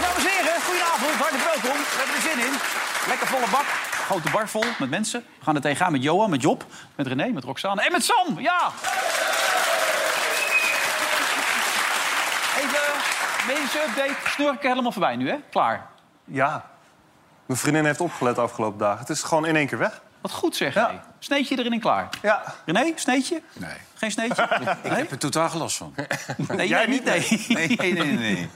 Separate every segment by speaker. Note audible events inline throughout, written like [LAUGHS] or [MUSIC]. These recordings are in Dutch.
Speaker 1: Dames en heren, goedenavond, hartelijk welkom. We hebben er zin in. Lekker volle bak, grote bar vol met mensen. We gaan er tegenaan met Johan, met Job, met René, met Roxane en met Sam, ja! Even medische update, snurken helemaal voorbij nu, hè? Klaar.
Speaker 2: Ja. Mijn vriendin heeft opgelet de afgelopen dagen. Het is gewoon in één keer weg.
Speaker 1: Wat goed zeg,
Speaker 2: Ja.
Speaker 1: hé. Sneetje erin en klaar.
Speaker 2: Ja.
Speaker 1: René, sneetje?
Speaker 3: Nee.
Speaker 1: Geen sneetje?
Speaker 3: [LAUGHS] Ik heb er totaal geen last van.
Speaker 1: Nee, jij niet, nee.
Speaker 3: [LAUGHS] Nee, nee, nee.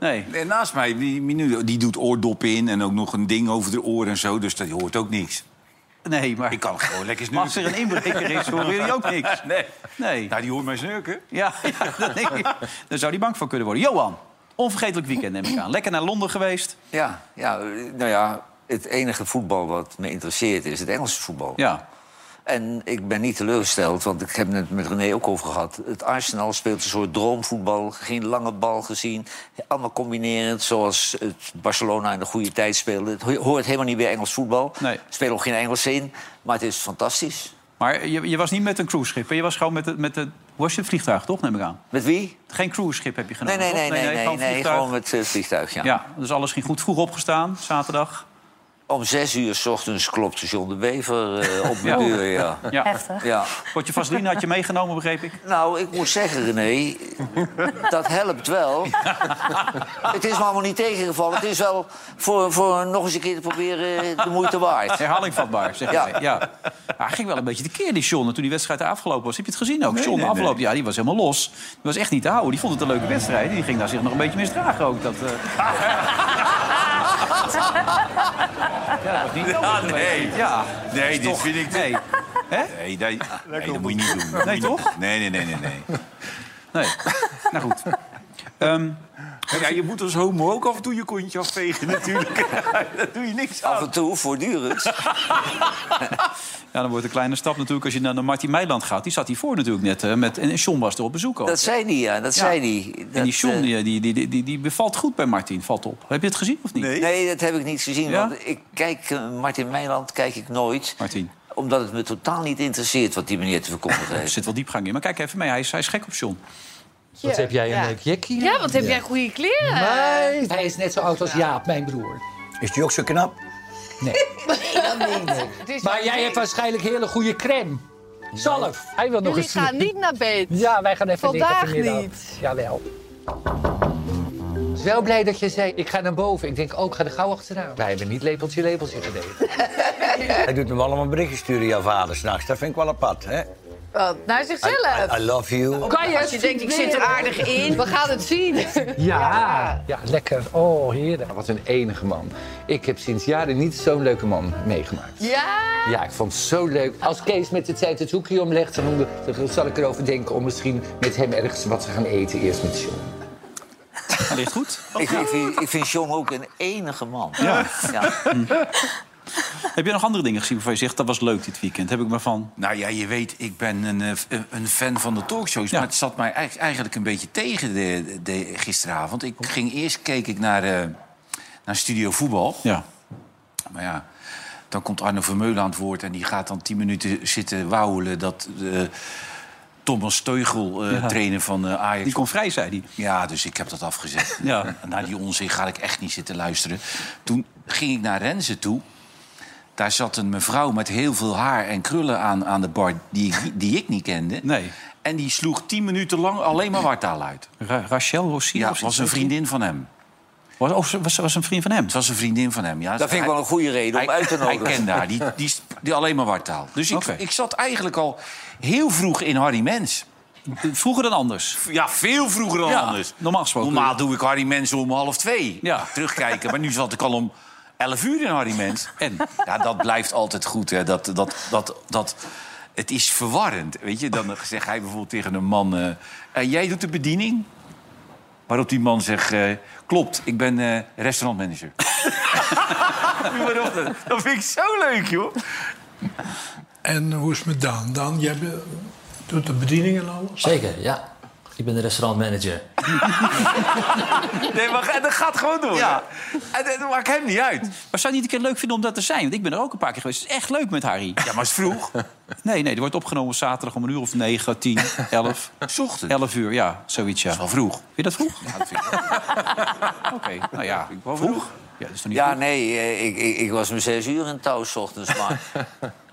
Speaker 3: nee.
Speaker 1: Nee.
Speaker 3: En naast mij, die, Minu, die doet oordoppen in en ook nog een ding over de oor en zo. Dus dat hoort ook niks.
Speaker 1: Nee, maar
Speaker 3: Ik kan gewoon lekker
Speaker 1: als er
Speaker 3: snurken.
Speaker 1: een inbreker is, horen jullie ook niks.
Speaker 3: [LAUGHS] Nee.
Speaker 1: Nee.
Speaker 3: Nou, die hoort mij snurken.
Speaker 1: Ja, [LAUGHS] ja dat denk ik. daar zou die bang voor kunnen worden. Johan, onvergetelijk weekend neem ik aan. Lekker naar Londen geweest.
Speaker 4: Ja, ja, eh, nou ja, het enige voetbal wat me interesseert is het Engelse voetbal.
Speaker 1: Ja,
Speaker 4: En ik ben niet teleurgesteld, want ik heb het met René ook over gehad. Het Arsenal speelt een soort droomvoetbal, geen lange bal gezien. Allemaal combinerend, zoals het Barcelona in de goede tijd speelde. Het ho- hoort helemaal niet bij Engels voetbal.
Speaker 1: Nee.
Speaker 4: Er spelen ook geen Engelsen in, maar het is fantastisch.
Speaker 1: maar je, je was niet met een cruiseschip. hè? Je was gewoon met het, met het, hoe was je het vliegtuig, toch? Neem ik aan.
Speaker 4: Met wie?
Speaker 1: Geen cruiseschip heb je
Speaker 4: Nee,
Speaker 1: genomen.
Speaker 4: nee,
Speaker 1: toch?
Speaker 4: nee, nee, nee, nee,
Speaker 1: gewoon vliegtuig.
Speaker 4: gewoon met eh, vliegtuig, ja.
Speaker 1: Ja, dus alles ging goed. Vroeg opgestaan, zaterdag.
Speaker 4: Om zes uur 's ochtends klopte John de Bever eh, op mijn
Speaker 1: Ja.
Speaker 4: deur,
Speaker 3: [LAUGHS]
Speaker 4: ja.
Speaker 1: Ja.
Speaker 5: Heftig.
Speaker 4: ja.
Speaker 1: Potje vaseline had je meegenomen, begreep ik.
Speaker 4: Nou, ik moet zeggen, René, dat helpt wel. Het is me allemaal niet tegengevallen. Het is wel voor, voor nog eens een keer te proberen de moeite waard.
Speaker 1: Herhaling vatbaar, zeg
Speaker 4: Ja.
Speaker 1: jij. Ja. Maar hij ging wel een beetje tekeer, die John, toen die wedstrijd afgelopen was. Heb je het gezien ook? John,
Speaker 3: nee,
Speaker 1: afgelopen, ja, die was helemaal los. Die was echt niet te houden. Die vond het een leuke wedstrijd. Die ging daar zich nog een beetje misdragen ook. Dat, eh. ja, dat was niet
Speaker 3: Ja,
Speaker 1: nodig geweest.
Speaker 3: nee.
Speaker 1: Ja,
Speaker 3: Nee, dit vind ik... Nee,
Speaker 1: nee.
Speaker 3: nee, dat- nee, dat moet je niet doen. Dat
Speaker 1: Nee,
Speaker 3: moet je niet-
Speaker 1: toch?
Speaker 3: Nee, nee, nee, nee. nee.
Speaker 1: nee. Nou goed. Ehm,
Speaker 3: Ja, je moet als homo ook af en toe je kontje afvegen natuurlijk. Daar doe je niks
Speaker 4: Af
Speaker 3: aan.
Speaker 4: en toe, voortdurend.
Speaker 1: ja, dan wordt een kleine stap natuurlijk als je naar de Martin Meiland gaat. Die zat hiervoor natuurlijk net. eh, met, en John was er op bezoek ook.
Speaker 4: Dat zei hij, ja. Dat zei hij.
Speaker 1: en die
Speaker 4: Dat,
Speaker 1: John,
Speaker 4: eh,
Speaker 1: die, die, die, die, die bevalt goed bij Martin, valt op. Heb je het gezien of niet?
Speaker 4: Nee, dat heb ik niet gezien.
Speaker 1: Ja?
Speaker 4: Want ik kijk, eh, Martin Meiland kijk ik nooit.
Speaker 1: Martin.
Speaker 4: Omdat het me totaal niet interesseert wat die meneer te
Speaker 1: [LAUGHS]
Speaker 4: verkondigen
Speaker 1: Er
Speaker 4: heeft.
Speaker 1: zit wel diepgang in, maar kijk even mee. Hij is, hij is gek op John.
Speaker 6: Wat heb jij een
Speaker 7: Ja.
Speaker 6: leuk jekkie?
Speaker 7: Ja, wat heb jij goede kleren?
Speaker 6: Hij is- Hij is net zo oud als Jaap, mijn broer.
Speaker 8: Is die ook zo knap?
Speaker 7: Het is
Speaker 6: Maar
Speaker 7: wel
Speaker 6: jij
Speaker 7: leuk.
Speaker 6: hebt waarschijnlijk hele goede crème. Zalf. Hij wil nog
Speaker 7: Jullie
Speaker 6: eens
Speaker 7: gaan niet naar bed.
Speaker 6: Ja, wij gaan even
Speaker 7: Vandaag
Speaker 6: liggen vanmiddag.
Speaker 7: niet.
Speaker 6: Jawel. Ik was wel blij dat je zei, ik ga naar boven. Ik denk, ook ik ga er gauw achteraan. Wij hebben niet lepeltje lepeltje gedaan.
Speaker 8: Hij doet hem wel allemaal berichtjes sturen, jouw vader, s'nachts. Dat vind ik wel apart, hè? I-
Speaker 7: Wat? Naar zichzelf.
Speaker 8: I, love you.
Speaker 7: Kan je Als je denkt, ik zit er aardig in. We gaan het zien.
Speaker 6: Ja. ja, lekker. Oh, heerlijk. Wat een enige man. Ik heb sinds jaren niet zo'n leuke man
Speaker 7: [LAUGHS]
Speaker 6: meegemaakt.
Speaker 7: Ja.
Speaker 6: Ja, ik vond het zo leuk. Als Kees met het zijden hoekje omlegt, dan, noemde- dan zal ik erover denken om misschien met hem ergens wat te gaan eten. Eerst met John.
Speaker 1: Hij ligt
Speaker 3: [LAUGHS]
Speaker 1: goed.
Speaker 4: Ik, ik, vind, ik vind John ook een enige man. Ja.
Speaker 1: Heb je nog andere dingen gezien waarvan je zegt dat was leuk dit weekend? Heb ik maar van.
Speaker 3: Nou ja, je weet, ik ben een, eh, f- een fan van de talkshows.
Speaker 1: Ja.
Speaker 3: Maar het zat mij eigenlijk- eigenlijk een beetje tegen de, de, gisteravond. Ik ging eerst keek ik naar, eh, naar Studio Voetbal.
Speaker 1: Ja.
Speaker 3: Maar ja, dan komt Arno Vermeulen aan het woord... en die gaat dan tien minuten zitten wauwelen... dat eh, Thomas Teugel, eh, trainer van eh, Ajax...
Speaker 1: Die kon vrij, zei hij.
Speaker 3: Ja, dus ik heb dat afgezet.
Speaker 1: Ja.
Speaker 3: Naar die onzin ga ik echt niet zitten luisteren. Toen ging ik naar Renze toe. Daar zat een mevrouw met heel veel haar en krullen aan, aan de bar... Die, ik- die ik niet kende.
Speaker 1: Nee.
Speaker 3: En die sloeg tien minuten lang alleen maar wartaal uit.
Speaker 1: Ra- Rachel Rossi
Speaker 3: Ja,
Speaker 1: of
Speaker 3: het
Speaker 1: zoiets.
Speaker 3: was een vriendin van hem.
Speaker 1: Was, oh, ze- was, ze was een vriend van hem.
Speaker 3: Het was een vriendin van hem. Ja,
Speaker 4: Dat vind ik
Speaker 3: Hij-
Speaker 4: wel een goede reden om
Speaker 3: hij,
Speaker 4: uit te
Speaker 3: hij
Speaker 4: nodigen.
Speaker 3: kende haar, die, die, die alleen maar wartaal. Dus ik,
Speaker 1: Oké.
Speaker 3: ik zat eigenlijk al heel vroeg in Harry Mens.
Speaker 1: Vroeger dan anders.
Speaker 3: Ja, veel vroeger dan
Speaker 1: Ja,
Speaker 3: anders.
Speaker 1: normaal gesproken.
Speaker 3: Normaal doe ik Harry Mens om half twee
Speaker 1: Ja.
Speaker 3: terugkijken. Maar nu zat ik al om elf uur in Harry Mens.
Speaker 1: En?
Speaker 3: Ja, dat blijft altijd goed. Hè. Dat, dat, dat, dat, het is verwarrend. Weet je, dan zegt hij bijvoorbeeld tegen een man... eh, eh, jij doet de bediening? Waarop die man zegt, eh, klopt, ik ben eh, restaurantmanager. Noem maar op, dat- dat vind ik zo leuk, joh.
Speaker 5: En hoe is het met Daan? Daan, jij be- doet de bediening en alles?
Speaker 9: Zeker, ja. Ik ben de restaurantmanager.
Speaker 3: Nee, maar dat gaat gewoon door.
Speaker 1: Ja.
Speaker 3: En dat maakt hem niet uit.
Speaker 1: Maar zou je niet een keer leuk vinden om dat te zijn? Want ik ben er ook een paar keer geweest. Het is echt leuk met Harry.
Speaker 3: Ja, maar het is
Speaker 1: [LAUGHS]
Speaker 3: vroeg.
Speaker 1: Nee, nee, er wordt opgenomen zaterdag om een uur of 9, 10, 11.
Speaker 3: [LAUGHS] S ochtends.
Speaker 1: 11 uur, ja, zoiets ja.
Speaker 3: Dat is wel vroeg.
Speaker 1: Vind je dat vroeg?
Speaker 3: [LAUGHS] Ja, dat vind ik
Speaker 1: [LAUGHS]
Speaker 3: wel.
Speaker 1: Oké, nou ja.
Speaker 3: Vind ik wel vroeg.
Speaker 1: Ja, dat is toch niet
Speaker 4: Ja,
Speaker 1: vroeg?
Speaker 4: nee, eh, ik, ik, ik was om zes uur in touw 's ochtends.
Speaker 1: [LAUGHS]
Speaker 4: Maar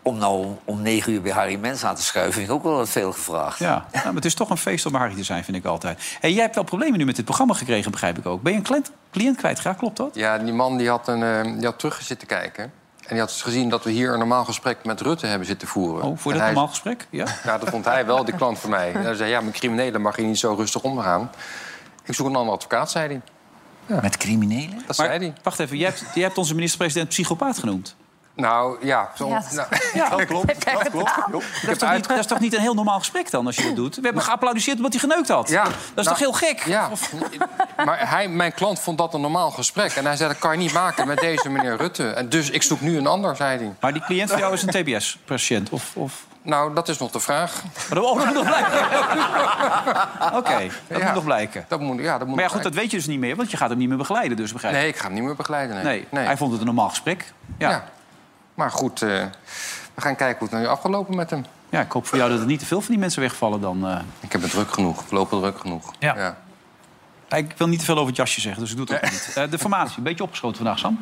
Speaker 4: om nou om negen uur bij Harry Mens aan te schuiven... vind ik ook wel wat veel gevraagd.
Speaker 1: Ja, nou, maar het is toch een feest om bij Harry te zijn, vind ik altijd. Hey, jij hebt wel problemen nu met dit programma gekregen, begrijp ik ook. Ben je een cliënt, cliënt kwijtgeraakt, klopt dat?
Speaker 10: Ja, die man die had, een, eh, die had terug zitten kijken. En die had dus gezien dat we hier een normaal gesprek met Rutte hebben zitten voeren.
Speaker 1: Oh, voor
Speaker 10: En
Speaker 1: dat
Speaker 10: hij-
Speaker 1: normaal gesprek?
Speaker 3: [LAUGHS]
Speaker 1: Ja.
Speaker 10: Ja, dat vond hij wel, de klant van mij. En hij zei, ja, met criminelen mag je niet zo rustig omgaan. Ik zoek een andere advocaat, zei hij.
Speaker 3: Met criminelen?
Speaker 10: Dat zei
Speaker 1: Maar
Speaker 10: hij.
Speaker 1: wacht even, jij hebt, jij hebt onze minister-president psychopaat genoemd.
Speaker 10: Nou, ja. Zo,
Speaker 7: Ja, dat is
Speaker 10: nou,
Speaker 1: Ja,
Speaker 10: dat klopt. joh. Ik
Speaker 1: dat is,
Speaker 10: heb
Speaker 1: toch
Speaker 10: uit-
Speaker 1: niet,
Speaker 10: Nou.
Speaker 1: dat is toch niet een heel normaal gesprek dan, als je dat doet? We hebben geapplaudisseerd omdat hij geneukt had.
Speaker 10: Ja,
Speaker 1: dat is
Speaker 10: nou,
Speaker 1: toch heel gek?
Speaker 10: Ja, maar hij, mijn klant vond dat een normaal gesprek. En hij zei, dat kan je niet maken met deze meneer Rutte. En dus ik zoek nu een ander, zei hij.
Speaker 1: Maar die cliënt van jou is een TBS-patiënt? Of, of...
Speaker 10: Nou, dat is nog de vraag.
Speaker 1: Maar dat oh, dat moet nog
Speaker 10: [LAUGHS]
Speaker 1: blijken. Oké, dat
Speaker 10: Ja.
Speaker 1: moet nog blijken.
Speaker 10: Dat moet, ja, dat moet
Speaker 1: Maar ja,
Speaker 10: nog
Speaker 1: goed, dat weet je dus niet meer, want je gaat hem niet meer begeleiden, dus begrijp ik.
Speaker 10: Nee, ik ga hem niet meer begeleiden. Nee.
Speaker 1: Nee, hij vond het een normaal gesprek. Ja.
Speaker 10: ja.
Speaker 1: Ja.
Speaker 10: Maar goed, eh, we gaan kijken hoe het nu afgelopen met hem.
Speaker 1: ik hoop voor jou dat er niet te veel van die mensen wegvallen dan. eh.
Speaker 10: Ik heb het druk genoeg, voorlopig druk genoeg.
Speaker 1: Ja. Ik wil niet te veel over het jasje zeggen, dus ik doe het ook niet. Eh, de formatie, een beetje opgeschoten vandaag, Sam.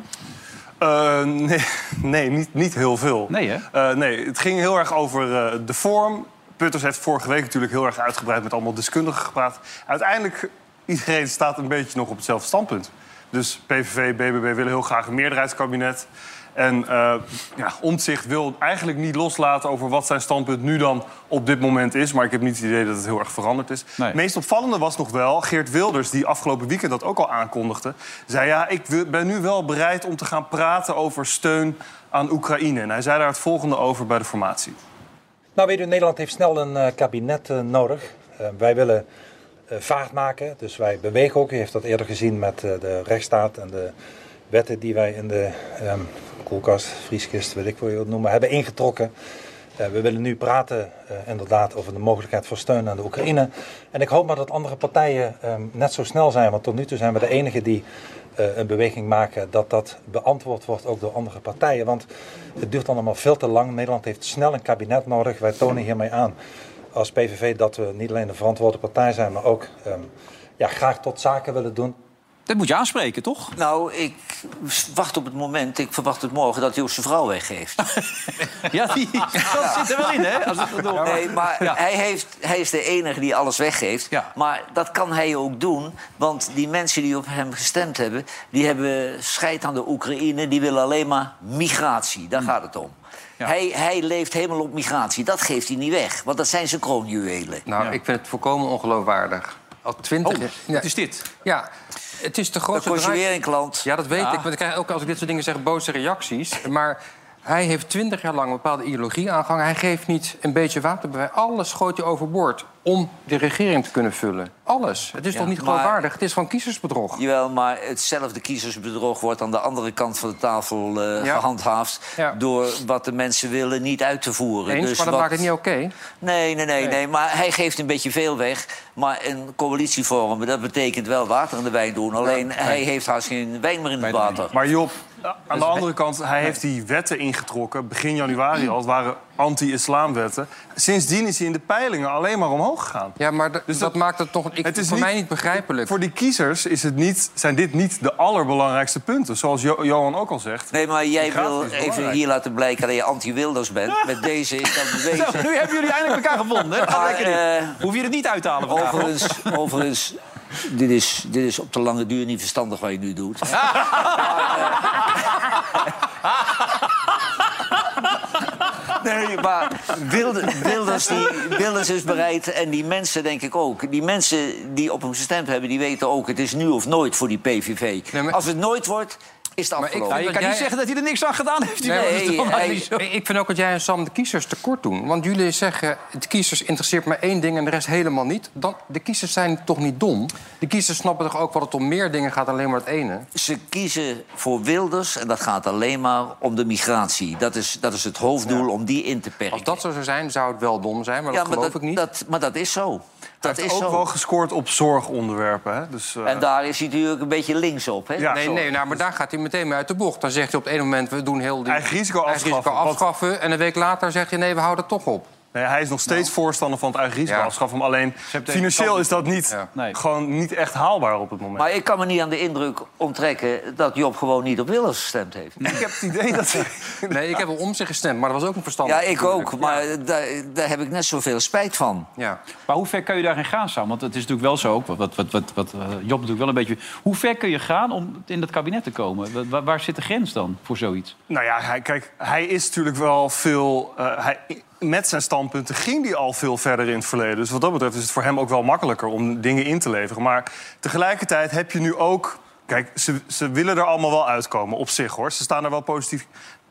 Speaker 2: Eh, nee, nee niet, niet heel veel.
Speaker 1: Nee, hè?
Speaker 2: Eh, nee, het ging heel erg over eh, de vorm. Putters heeft vorige week natuurlijk heel erg uitgebreid met allemaal deskundigen gepraat. Uiteindelijk, iedereen staat een beetje nog op hetzelfde standpunt. Dus PVV, BBB willen heel graag een meerderheidskabinet. En eh ja, Omtzigt wil eigenlijk niet loslaten over wat zijn standpunt nu dan op dit moment is. Maar ik heb niet het idee dat het heel erg veranderd is.
Speaker 1: Nee.
Speaker 2: Het meest opvallende was nog wel Geert Wilders, die afgelopen weekend dat ook al aankondigde. Zei ja, ik wil- ben nu wel bereid om te gaan praten over steun aan Oekraïne. En hij zei daar het volgende over bij de formatie.
Speaker 5: Nou, weet u, Nederland heeft snel een eh, kabinet eh, nodig. Eh, wij willen eh, vaart maken, dus wij bewegen ook. U heeft dat eerder gezien met eh, de rechtsstaat en de wetten die wij in de ehm, koelkast, vrieskist, weet ik hoe je het noemen, hebben ingetrokken. Eh, we willen nu praten eh, inderdaad over de mogelijkheid voor steun aan de Oekraïne. En ik hoop maar dat andere partijen ehm, net zo snel zijn, want tot nu toe zijn we de enigen die eh, een beweging maken, dat dat beantwoord wordt ook door andere partijen. Want het duurt allemaal veel te lang. Nederland heeft snel een kabinet nodig. Wij tonen hiermee aan als PVV dat we niet alleen de verantwoorde partij zijn, maar ook ehm, ja, graag tot zaken willen doen.
Speaker 1: Dat moet je aanspreken, toch?
Speaker 4: Nou, ik wacht op het moment, ik verwacht het morgen, dat hij ook zijn vrouw weggeeft.
Speaker 1: Ja, die, [LAUGHS] dat zit er wel in, hè? Als het door...
Speaker 4: Nee, maar
Speaker 1: [LAUGHS] Ja.
Speaker 4: hij, heeft, hij is de enige die alles weggeeft.
Speaker 1: Ja.
Speaker 4: Maar dat kan hij ook doen. Want die mensen die op hem gestemd hebben... die hebben scheid aan de Oekraïne. Die willen alleen maar migratie. Daar gaat het om.
Speaker 1: Hmm. Ja.
Speaker 4: Hij, hij leeft helemaal op migratie. Dat geeft hij niet weg. Want dat zijn zijn kroonjuwelen.
Speaker 10: Nou, ik vind het volkomen ongeloofwaardig. Al twintig jaar. Ja,
Speaker 1: Het Oh, is dit.
Speaker 10: ja, het is de
Speaker 4: Dan
Speaker 10: grootste
Speaker 4: kost je
Speaker 10: draai-
Speaker 4: weer een klant.
Speaker 10: Ja, dat weet ik. Want ik krijg ook als ik dit soort dingen zeg boze reacties. Maar hij heeft twintig jaar lang een bepaalde ideologie aangehangen. Hij geeft niet een beetje water bij. Alles gooit hij overboord om de regering te kunnen vullen. Alles. Het is toch niet
Speaker 4: maar-
Speaker 10: geloofwaardig? Het is van
Speaker 2: Dus
Speaker 10: kiezersbedrog.
Speaker 4: Jawel, maar hetzelfde kiezersbedrog wordt aan de andere kant van de tafel eh,
Speaker 10: Ja.
Speaker 4: gehandhaafd...
Speaker 10: Ja.
Speaker 4: door wat de mensen willen niet uit te voeren.
Speaker 10: Eens,
Speaker 4: Dus
Speaker 10: maar dat
Speaker 4: wat-
Speaker 10: maakt het niet oké.
Speaker 4: Nee, nee, nee, nee, Maar hij geeft een beetje veel weg. Maar een coalitie vormen, dat betekent wel water in de wijn doen. Alleen hij heeft haast geen wijn meer in het water.
Speaker 2: Maar Job, eh, aan de andere kant, hij heeft die wetten ingetrokken. Begin januari al, het waren anti-islamwetten. Sindsdien is hij in de peilingen alleen maar omhoog gegaan.
Speaker 10: Ja, maar d-
Speaker 2: Dus
Speaker 10: dat,
Speaker 2: dat-
Speaker 10: maakt het toch ik,
Speaker 2: Het is
Speaker 10: voor
Speaker 2: niet-
Speaker 10: mij niet begrijpelijk.
Speaker 2: Voor die kiezers is het niet, zijn dit niet de allerbelangrijkste punten. Zoals Jo- Johan ook al zegt.
Speaker 4: Nee, maar jij
Speaker 2: Migratie
Speaker 4: wil
Speaker 2: is
Speaker 4: even
Speaker 2: belangrijk.
Speaker 4: hier laten blijken dat je anti-Wilders bent. Met deze is dat bewezen.
Speaker 1: Nu hebben jullie eindelijk elkaar gevonden, hè? Ga
Speaker 4: Maar,
Speaker 1: lekker in.
Speaker 4: eh,
Speaker 1: Hoef je het niet uit te halen vandaag. hoor.
Speaker 4: Overigens, overigens dit, is, dit is op de lange duur niet verstandig wat je nu
Speaker 10: [LAUGHS]
Speaker 4: doet. eh, [LAUGHS] Nee, maar Wilde- Wilders, die, Wilders is bereid en die mensen denk ik ook. Die mensen die op hem gestemd hebben, die weten ook... het is nu of nooit voor die PVV.
Speaker 10: Nee, maar-
Speaker 4: Als het nooit wordt, is het
Speaker 10: ik-
Speaker 4: afgelopen.
Speaker 10: Nou,
Speaker 1: je
Speaker 10: dat
Speaker 1: kan niet
Speaker 10: jij-
Speaker 1: zeggen dat hij er niks aan gedaan heeft.
Speaker 10: [LAUGHS]
Speaker 1: die
Speaker 10: Nee,
Speaker 1: mensen. Dat
Speaker 10: hij-
Speaker 1: maakt niet zo-
Speaker 10: ik vind ook dat jij en Sam de kiezers tekort doen. Want jullie zeggen, de kiezers interesseert maar één ding en de rest helemaal niet. Dan, de kiezers zijn toch niet dom? De kiezers snappen toch ook wat het om meer dingen gaat dan alleen maar het ene?
Speaker 4: Ze kiezen voor Wilders en dat gaat alleen maar om de migratie. Dat is, dat is het hoofddoel om die in te perken.
Speaker 10: Als dat zo zou zijn, zou het wel dom zijn, maar dat
Speaker 4: maar,
Speaker 10: geloof
Speaker 4: dat,
Speaker 10: ik niet.
Speaker 4: Dat, maar dat is zo. Dat
Speaker 2: Hij
Speaker 4: is
Speaker 2: heeft ook
Speaker 4: zo.
Speaker 2: wel gescoord op zorgonderwerpen. Hè? Dus, eh,
Speaker 4: En daar is hij natuurlijk een beetje links op. Hè?
Speaker 2: Ja,
Speaker 10: nee,
Speaker 2: sorry.
Speaker 10: nee nou, maar daar gaat hij meteen mee uit de bocht. Dan zegt hij op het ene moment, we doen heel die...
Speaker 2: Eigen risico
Speaker 10: eigen
Speaker 2: afschaffen.
Speaker 10: risico afschaffen. En een week later zegt hij, nee, we houden het
Speaker 2: [LAUGHS]
Speaker 10: toch op.
Speaker 2: nee, hij is nog steeds voorstander van het eigen risico
Speaker 10: Ja.
Speaker 2: afschaffen. Maar alleen
Speaker 1: tegen
Speaker 2: financieel is dat niet,
Speaker 10: Ja.
Speaker 1: Nee.
Speaker 2: gewoon niet echt haalbaar op het moment.
Speaker 4: Maar ik kan me niet aan de indruk onttrekken dat Job gewoon niet op Wilders gestemd heeft.
Speaker 2: ik heb het idee dat...
Speaker 10: Nee, ik heb wel om zich gestemd, maar dat was ook een verstandig.
Speaker 4: Ja, ik ook, maar daar, daar heb ik net zoveel spijt van.
Speaker 10: Ja.
Speaker 2: Dus
Speaker 1: Maar hoe ver kan je daarin gaan, Sam? Want het is natuurlijk wel zo, ook wat, wat, wat, wat, wat eh, Job natuurlijk wel een beetje... Hoe ver kun je gaan om in dat kabinet te komen? Wa- Waar, waar zit de grens dan voor zoiets?
Speaker 2: Nou ja, hij, kijk, hij is natuurlijk wel veel... eh, hij, met zijn standpunten ging hij al veel verder in het verleden. Dus wat dat betreft is het voor hem ook wel makkelijker om dingen in te leveren. Maar tegelijkertijd heb je nu ook... Kijk, ze, ze willen er allemaal wel uitkomen op zich, hoor. Ze staan er wel positief,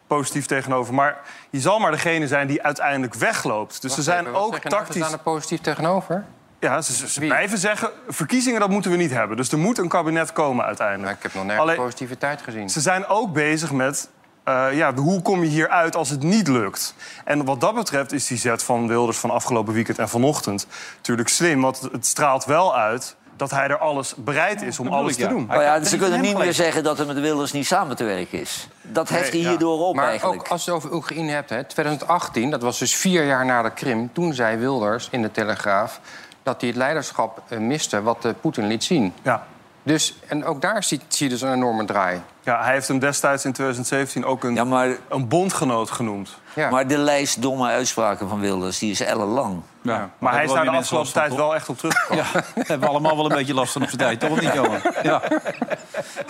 Speaker 2: positief tegenover. Maar je zal maar degene zijn die uiteindelijk wegloopt. Dus ze zijn ook
Speaker 10: We
Speaker 2: tactisch...
Speaker 10: staan er nou positief tegenover.
Speaker 2: Ja, ze, ze- ze
Speaker 10: Wie?
Speaker 2: blijven zeggen, verkiezingen dat moeten we niet hebben. Dus er moet een kabinet komen uiteindelijk.
Speaker 10: Maar Nou, ik heb nog nergens
Speaker 2: Alleen-
Speaker 10: positiviteit gezien.
Speaker 2: Ze zijn ook bezig met eh, ja, hoe kom je hier uit als het niet lukt. En wat dat betreft is die zet van Wilders van afgelopen weekend en vanochtend natuurlijk slim. Want het straalt wel uit dat hij er alles bereid is om
Speaker 1: bedoel
Speaker 2: alles
Speaker 1: ik,
Speaker 2: te
Speaker 1: ja.
Speaker 2: doen.
Speaker 1: Hij-
Speaker 4: Maar
Speaker 1: dat
Speaker 4: ja,
Speaker 1: is
Speaker 4: ze
Speaker 1: niet
Speaker 4: kunnen
Speaker 1: hem
Speaker 4: niet meer
Speaker 1: geweest.
Speaker 4: zeggen dat er met Wilders niet samen te werken is. Dat heft hij
Speaker 2: ja.
Speaker 4: hierdoor op
Speaker 10: maar
Speaker 4: eigenlijk.
Speaker 10: ook als je het over Oekraïne hebt, hè, 2018, dat was dus vier jaar na de Krim... toen zei Wilders in de Telegraaf dat hij het leiderschap eh, miste... wat eh, Poetin liet zien.
Speaker 2: Ja.
Speaker 10: Dus, en ook daar zie, zie je dus een enorme draai.
Speaker 2: Ja, hij heeft hem destijds in 2017 ook een,
Speaker 4: Ja, maar,
Speaker 2: een bondgenoot genoemd.
Speaker 10: Ja.
Speaker 4: maar de lijst domme uitspraken van Wilders die is ellenlang.
Speaker 1: Ja.
Speaker 2: Maar hij is daar de
Speaker 1: zijn
Speaker 2: afgelopen tijd wel echt op teruggekomen.
Speaker 1: Ja, daar hebben we allemaal wel een beetje last van op zijn tijd. Toch of niet, [LAUGHS] Johan? Ja.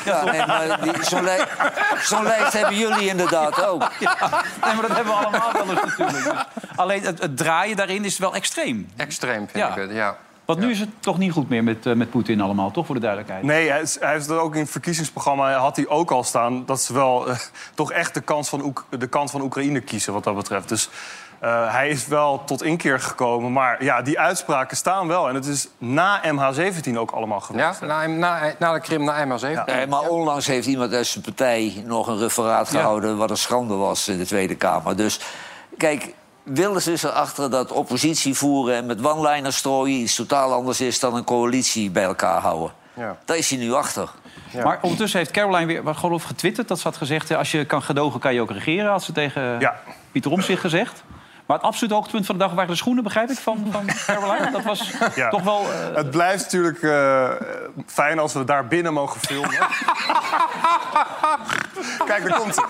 Speaker 4: Ja, nee, maar die- zo'n lij- zo'n lijst hebben jullie inderdaad ook.
Speaker 1: Nee, maar dat hebben we allemaal wel eens natuurlijk. Dus alleen het, het draaien daarin is wel extreem.
Speaker 10: Extreem, vind
Speaker 1: Ja.
Speaker 10: ik het, ja.
Speaker 1: Want nu is het toch niet goed meer met, eh, met Poetin allemaal, toch? Voor de duidelijkheid.
Speaker 2: Nee, hij, is- hij heeft er ook in het verkiezingsprogramma had hij ook al staan dat ze wel eh, toch echt de kant van, Oek- de kant van Oekraïne kiezen wat dat betreft. Dus eh, hij is wel tot inkeer gekomen. Maar ja, die uitspraken staan wel. En het is na MH17 ook allemaal geweest.
Speaker 10: Ja, na, na, na de Krim, na MH17.
Speaker 4: Nee, maar onlangs heeft iemand uit zijn partij nog een referaat gehouden... wat een schande was in de Tweede Kamer. Dus kijk, Wilders is erachter dat oppositie voeren... en met one-liners strooien iets totaal anders is... dan een coalitie bij elkaar houden.
Speaker 10: Ja.
Speaker 4: Daar is hij nu achter.
Speaker 1: Maar ondertussen heeft Caroline weer wat geloof ik, getwitterd. Dat ze had gezegd, eh, als je kan gedogen, kan je ook regeren. Had ze tegen
Speaker 2: Ja.
Speaker 1: Pieter Omtzigt gezegd. Maar het absolute hoogtepunt van de dag waren de schoenen, begrijp ik, van, van Caroline. Dat was
Speaker 2: Ja.
Speaker 1: toch wel... eh,
Speaker 2: Het blijft natuurlijk eh, fijn als we daar binnen mogen filmen. Kijk, daar komt ze.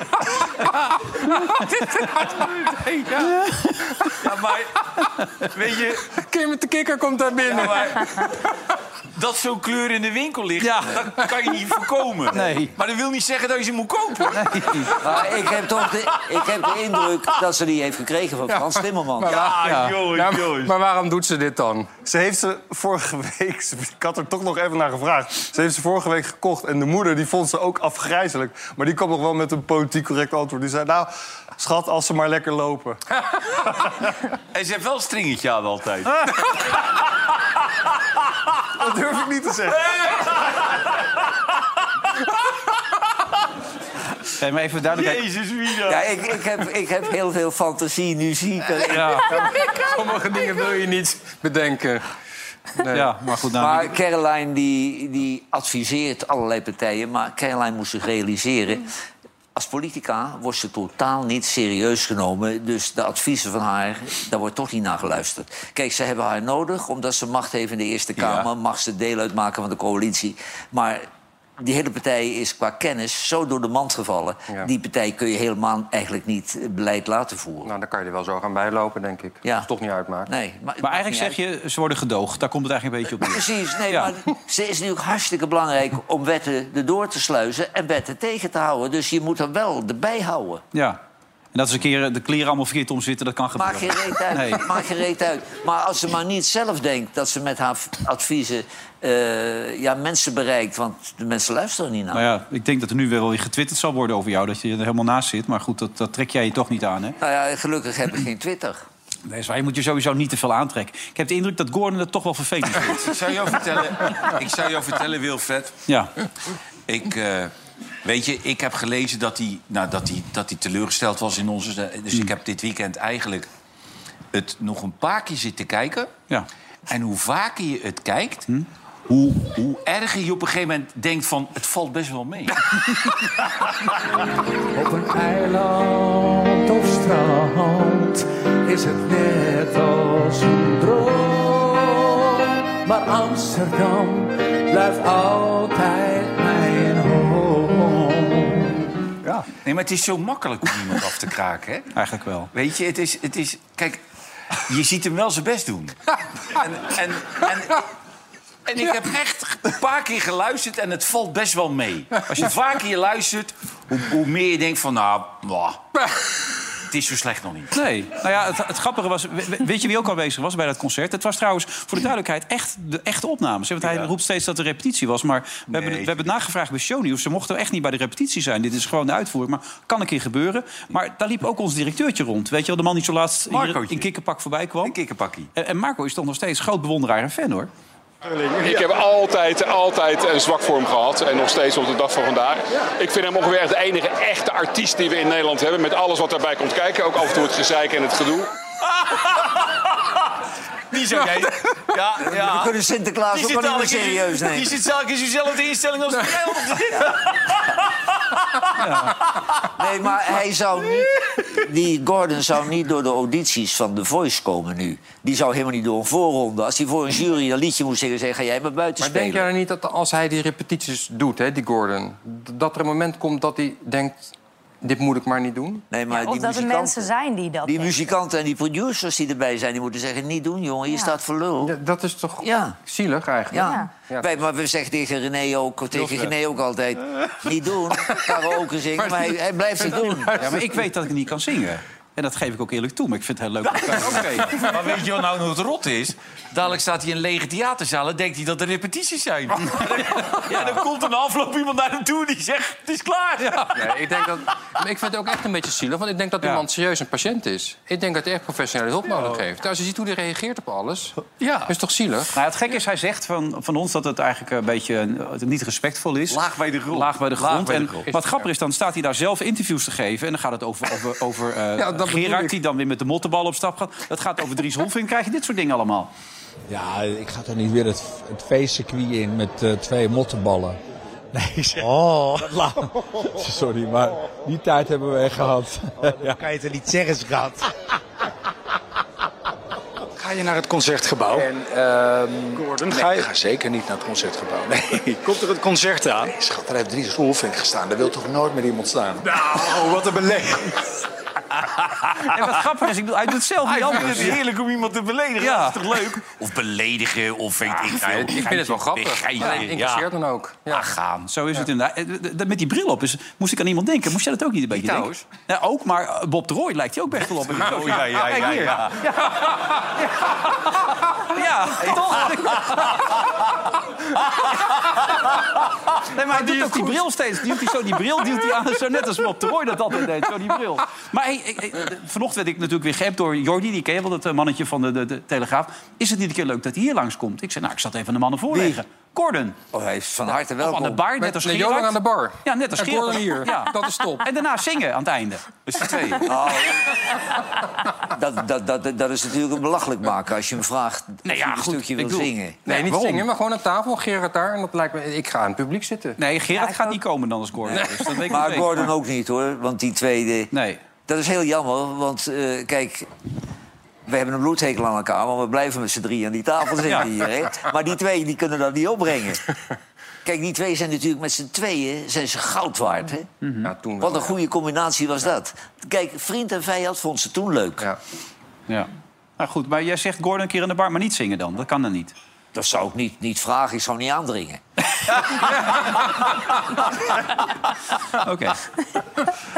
Speaker 10: weet je... Kim met de kikker komt daar binnen.
Speaker 3: Dat zo'n kleur in de winkel ligt,
Speaker 1: Ja.
Speaker 3: dat kan je niet voorkomen.
Speaker 1: Nee.
Speaker 3: Maar dat wil niet zeggen dat je ze moet kopen.
Speaker 4: Maar ik heb toch de, ik heb de indruk dat ze die heeft gekregen van Frans Timmerman.
Speaker 3: Ah,
Speaker 10: Ja,
Speaker 2: joh,
Speaker 10: Ja,
Speaker 2: joh.
Speaker 10: maar, maar waarom doet ze dit dan?
Speaker 2: Ze heeft ze vorige week, ik had er toch nog even naar gevraagd. Ze heeft ze vorige week gekocht en de moeder die vond ze ook afgrijzelijk. Maar die kwam nog wel met een politiek correct antwoord. Die zei, nou, schat, als ze maar lekker lopen.
Speaker 3: En ze heeft wel een stringetje aan altijd.
Speaker 2: Dat durf ik niet te zeggen.
Speaker 1: Nee, maar even duidelijkheid.
Speaker 3: Jezus, wie
Speaker 4: Ja, ik, ik, heb, ik heb heel veel fantasie, nu zie ik er-
Speaker 10: Sommige dingen wil je niet bedenken.
Speaker 1: Ja, maar goed, nou,
Speaker 4: Maar Caroline die, die adviseert allerlei partijen. Maar Caroline moest zich realiseren... als politica wordt ze totaal niet serieus genomen. Dus de adviezen van haar, daar wordt toch niet naar geluisterd. Kijk, ze hebben haar nodig omdat ze macht heeft in de Eerste Kamer. Mag ze deel uitmaken van de coalitie. Maar die hele partij is qua kennis zo door de mand gevallen. Die partij kun je helemaal eigenlijk niet eh, beleid laten voeren.
Speaker 10: Nou, dan kan je er wel zo gaan bijlopen, denk ik.
Speaker 4: Ja.
Speaker 10: Dat het toch niet uitmaakt.
Speaker 4: Nee, maar, het
Speaker 1: maar
Speaker 4: maakt
Speaker 1: eigenlijk
Speaker 4: niet
Speaker 1: zeg je, ze worden gedoogd. Daar komt het eigenlijk een beetje op neer.
Speaker 4: Precies, nee,
Speaker 1: Ja.
Speaker 4: maar ze is natuurlijk hartstikke belangrijk om wetten erdoor te sluizen en wetten tegen te houden. Dus je moet er wel erbij houden.
Speaker 1: Ja. En dat ze een keer de kleren allemaal verkeerd omzitten, dat kan gebeuren.
Speaker 4: Maak geen reet uit.
Speaker 1: Nee.
Speaker 4: Maak geen reet uit. Maar als ze maar niet zelf denkt dat ze met haar v- adviezen eh, ja, mensen bereikt. Want de mensen luisteren niet naar.
Speaker 1: Nou ja, ik denk dat er nu wel weer getwitterd zal worden over jou. Dat je er helemaal naast zit. Maar goed, dat, dat trek jij je toch niet aan, hè?
Speaker 4: Nou ja, gelukkig heb ik geen Twitter.
Speaker 1: Nee, is waar. Je moet je sowieso niet te veel aantrekken. Ik heb de indruk dat Gordon het toch wel vervelend vindt.
Speaker 3: Ik zou jou vertellen, ik zou jou vertellen Wilfred.
Speaker 1: [LAUGHS] Ja.
Speaker 3: Ik, eh, weet je, ik heb gelezen dat hij, nou, dat hij, dat hij teleurgesteld was in onze... Dus ik heb dit weekend eigenlijk het nog een paar keer zitten kijken.
Speaker 1: Ja.
Speaker 3: En hoe vaker je het kijkt... Hoe, hoe erger je op een gegeven moment denkt van... het valt best wel mee.
Speaker 11: Op een eiland of strand is het net als een droom. Maar Amsterdam blijft altijd mijn home.
Speaker 1: Ja.
Speaker 3: Nee, maar het is zo makkelijk om iemand af te kraken, hè?
Speaker 1: Eigenlijk wel.
Speaker 3: Weet je, het is, het is... Kijk, je ziet hem wel zijn best doen. [LAUGHS] En, en, en, en ik heb echt een paar keer geluisterd en het valt best wel mee. Als je vaker je luistert, hoe, hoe meer je denkt van... Nou, mwah, het is zo slecht nog niet.
Speaker 1: Nee. Nou ja, het, het grappige was... we- we- Weet je wie ook aanwezig was bij dat concert? Het was trouwens, voor de duidelijkheid, echt de echte opnames. hè? Want hij roept steeds dat er repetitie was. Maar we, hebben, het- we hebben het nagevraagd bij Shownieuws. Ze mochten echt niet bij de repetitie zijn. Dit is gewoon de uitvoering. Maar kan een keer gebeuren. Maar daar liep ook ons directeurtje rond. Weet je wel, de man die zo laatst hier
Speaker 3: Marcootje.
Speaker 1: in kikkerpak voorbij kwam.
Speaker 3: Kikkerpakkie.
Speaker 1: En, en Marco is toch nog steeds groot bewonderaar en fan, hoor.
Speaker 12: Ik heb altijd, altijd een zwak voor hem gehad. En nog steeds op de dag van vandaag. Ik vind hem ongeveer echt de enige echte artiest die we in Nederland hebben. Met alles wat daarbij komt kijken. Ook af en toe het gezeik en het gedoe.
Speaker 3: Die zou jij... Ja, ja.
Speaker 2: Ah.
Speaker 4: We kunnen Sinterklaas ook wel niet meer serieus nemen.
Speaker 3: Die zit telkens in dezelfde instelling als jij op te zitten.
Speaker 4: Nee,
Speaker 13: Ah,
Speaker 4: maar hij zou niet. Die Gordon zou niet door de audities van The Voice komen nu. Die zou helemaal niet door een voorronde. Als hij voor een jury een liedje moest zingen, zei: ga jij maar buiten
Speaker 10: Maar denk
Speaker 4: spelen.
Speaker 10: jij dan niet dat als hij die repetities doet, hè, die Gordon... d- dat er een moment komt dat hij denkt... dit moet ik maar niet doen?
Speaker 4: Nee, maar
Speaker 13: Of dat
Speaker 4: die
Speaker 13: er
Speaker 4: muzikanten-
Speaker 13: mensen zijn die dat
Speaker 4: Die
Speaker 13: denken.
Speaker 4: muzikanten en die producers die erbij zijn, die moeten zeggen: niet doen, jongen, je staat voor lul.
Speaker 10: dat is toch
Speaker 4: ja.
Speaker 10: zielig eigenlijk?
Speaker 4: Ja. Wij, maar we zeggen tegen René ook, tegen
Speaker 10: Wilfred.
Speaker 4: René ook altijd: niet doen, karaoke zingen, maar hij, hij blijft het doen.
Speaker 1: [LAUGHS] Ja, maar ik weet dat ik niet kan zingen. En dat geef ik ook eerlijk toe, maar ik vind het heel
Speaker 3: [LAUGHS]
Speaker 1: leuk. om te kijken.
Speaker 3: Maar weet je wat nou nog het rot is? Dadelijk staat hij in een lege theaterzaal en denkt hij dat er repetities zijn. [LAUGHS] Ja, dan komt er na afloop iemand naar hem toe die zegt... het is klaar.
Speaker 10: Nee, ik, denk dat, maar ik vind het ook echt een beetje zielig, want ik denk dat iemand serieus een patiënt is. Ik denk dat hij echt professionele hulp nodig heeft. Als je ziet hoe hij reageert op alles,
Speaker 1: Ja.
Speaker 10: is toch zielig?
Speaker 1: Nou, het gekke is, hij zegt van, van ons dat het eigenlijk een beetje eh, niet respectvol is. Laag bij de grond. Laag bij de grond.
Speaker 3: bij de
Speaker 1: en
Speaker 3: grond.
Speaker 1: wat grappiger is, dan staat hij daar zelf interviews te geven. En dan gaat het over, over, over eh,
Speaker 10: Ja, dat bedoel
Speaker 1: Gerard,
Speaker 10: ik.
Speaker 1: die dan weer met de mottenbal op stap gaat. Dat gaat over Dries Hofvink. krijg je dit soort dingen allemaal.
Speaker 14: Ja, ik ga toch niet weer het, het feestcircuit in met eh, twee mottenballen. Nee, zeg. Oh. Sorry, maar die tijd hebben we echt gehad. ja.
Speaker 15: Oh, Kan je het er niet zeggen, schat?
Speaker 16: Ga je naar het concertgebouw? En, Gordon, nee, ga je? ga zeker niet naar het concertgebouw. Nee. Komt er het concert aan? Nee, schat, daar heeft Dries Roelvink gestaan. Daar wil toch nooit meer iemand staan? Nou, wat een belediging.
Speaker 1: En wat grappig is, ik bedoel, hij doet het zelf niet
Speaker 3: Hij vindt
Speaker 1: anders.
Speaker 3: het heerlijk om iemand te beledigen.
Speaker 1: Ja.
Speaker 3: Dat is toch leuk? Of beledigen, of weet ik veel.
Speaker 1: ik vind het wel grappig.
Speaker 3: Geintje.
Speaker 1: Maar het interesseert
Speaker 10: dan ook.
Speaker 3: gaan.
Speaker 1: Zo is het inderdaad. Eh, d- d- Met die bril op is, moest ik aan iemand denken. Moest jij dat ook niet een beetje denken?
Speaker 3: trouwens.
Speaker 1: Ja, ook, maar eh, Bob de Roy lijkt hij ook best wel op.
Speaker 3: Oh, ja, ja,
Speaker 1: Kijk
Speaker 3: ja,
Speaker 1: hier.
Speaker 3: ja.
Speaker 1: Ja, toch? [LAUGHS] Nee, maar hij doet ook die bril steeds. Duwt hij zo die bril duwt hij aan. Zo net als Bob de Roy dat altijd deed, zo die bril. Maar hey, hey, hey, vanochtend werd ik natuurlijk weer geappt door Jordi. Die ken je wel, dat eh, mannetje van de, de, de Telegraaf. Is het niet een keer leuk dat hij hier langskomt? Ik zei, nou, ik zat even aan de mannen voorleggen. Gordon.
Speaker 4: Oh, hij is van harte
Speaker 1: Of aan de bar, net als
Speaker 10: Met
Speaker 1: Gerard.
Speaker 10: Johan aan de bar.
Speaker 1: Ja, net als
Speaker 10: En
Speaker 1: Gerard.
Speaker 10: Gordon hier.
Speaker 1: Ja.
Speaker 10: [LAUGHS] Dat is top.
Speaker 1: En daarna zingen aan het einde.
Speaker 3: Dus de twee.
Speaker 4: Dat, dat, dat, dat is natuurlijk een belachelijk maken als je hem vraagt
Speaker 1: Nee,
Speaker 4: of
Speaker 1: Nou ja,
Speaker 4: hij een
Speaker 1: goed,
Speaker 4: stukje
Speaker 1: ik
Speaker 4: wil
Speaker 1: bedoel-
Speaker 4: zingen.
Speaker 10: Nee, niet zingen, maar gewoon aan tafel. Gerard daar. En dat lijkt me, ik ga aan het publiek zitten.
Speaker 1: Nee, Gerard gaat niet komen dan als Gordon. er is. Dat weet ik
Speaker 4: Maar
Speaker 1: meteen.
Speaker 4: Gordon ook niet hoor, want die tweede.
Speaker 1: Nee.
Speaker 4: Dat is heel jammer, want eh, kijk. We hebben een bloedhekel aan elkaar, maar we blijven met z'n drie aan die tafel zitten
Speaker 1: [LAUGHS] Ja.
Speaker 4: hier. Hè? Maar die twee die kunnen dat niet
Speaker 1: [LAUGHS]
Speaker 4: opbrengen. Kijk, die twee zijn natuurlijk met z'n tweeën zijn ze goud waard. Hè?
Speaker 1: Mhm.
Speaker 10: Ja, toen wel.
Speaker 4: Wat een goede combinatie was dat. Kijk, vriend en vijand vond ze toen leuk.
Speaker 10: Ja. [LAUGHS]
Speaker 1: Ja. Nou goed, maar jij zegt Gordon een keer aan de bar, maar niet zingen dan. Dat kan dan niet.
Speaker 4: Dat zou ik niet, niet vragen, ik zou niet aandringen.
Speaker 1: Oké.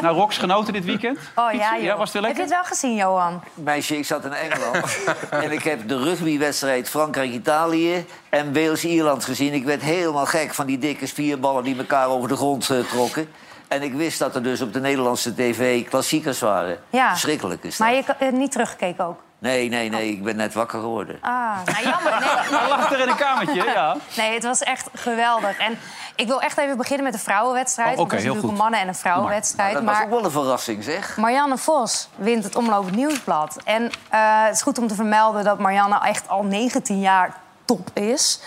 Speaker 1: Nou, Rox, genoten dit weekend?
Speaker 13: Oh ja, joh.
Speaker 1: Ja,
Speaker 13: Heb
Speaker 1: was het weer
Speaker 13: je
Speaker 1: lekker?
Speaker 13: het wel gezien, Johan?
Speaker 4: Meisje, ik zat in Engeland en ik heb de rugbywedstrijd Frankrijk-Italië en Wales-Ierland gezien. Ik werd helemaal gek van die dikke spierballen die elkaar over de grond eh, trokken. En ik wist dat er dus op de Nederlandse tv klassiekers waren.
Speaker 13: Ja.
Speaker 4: Verschrikkelijk is dat.
Speaker 13: Maar je kan- eh, niet teruggekeken ook.
Speaker 4: Nee, nee, nee, ik ben net wakker geworden.
Speaker 13: Ah, nou jammer. Nee,
Speaker 1: Hij lag er in een kamertje, ja.
Speaker 13: Nee, het was echt geweldig. En ik wil echt even beginnen met de vrouwenwedstrijd.
Speaker 4: Oh,
Speaker 13: want
Speaker 4: oké,
Speaker 13: het is
Speaker 4: heel
Speaker 13: natuurlijk
Speaker 4: goed.
Speaker 13: een mannen- en een vrouwenwedstrijd.
Speaker 4: dat
Speaker 13: maar Mm.
Speaker 4: was ook wel een verrassing, zeg.
Speaker 13: Marianne Vos wint het Omlopend Nieuwsblad. En eh, het is goed om te vermelden dat Marianne echt al 19 jaar top is.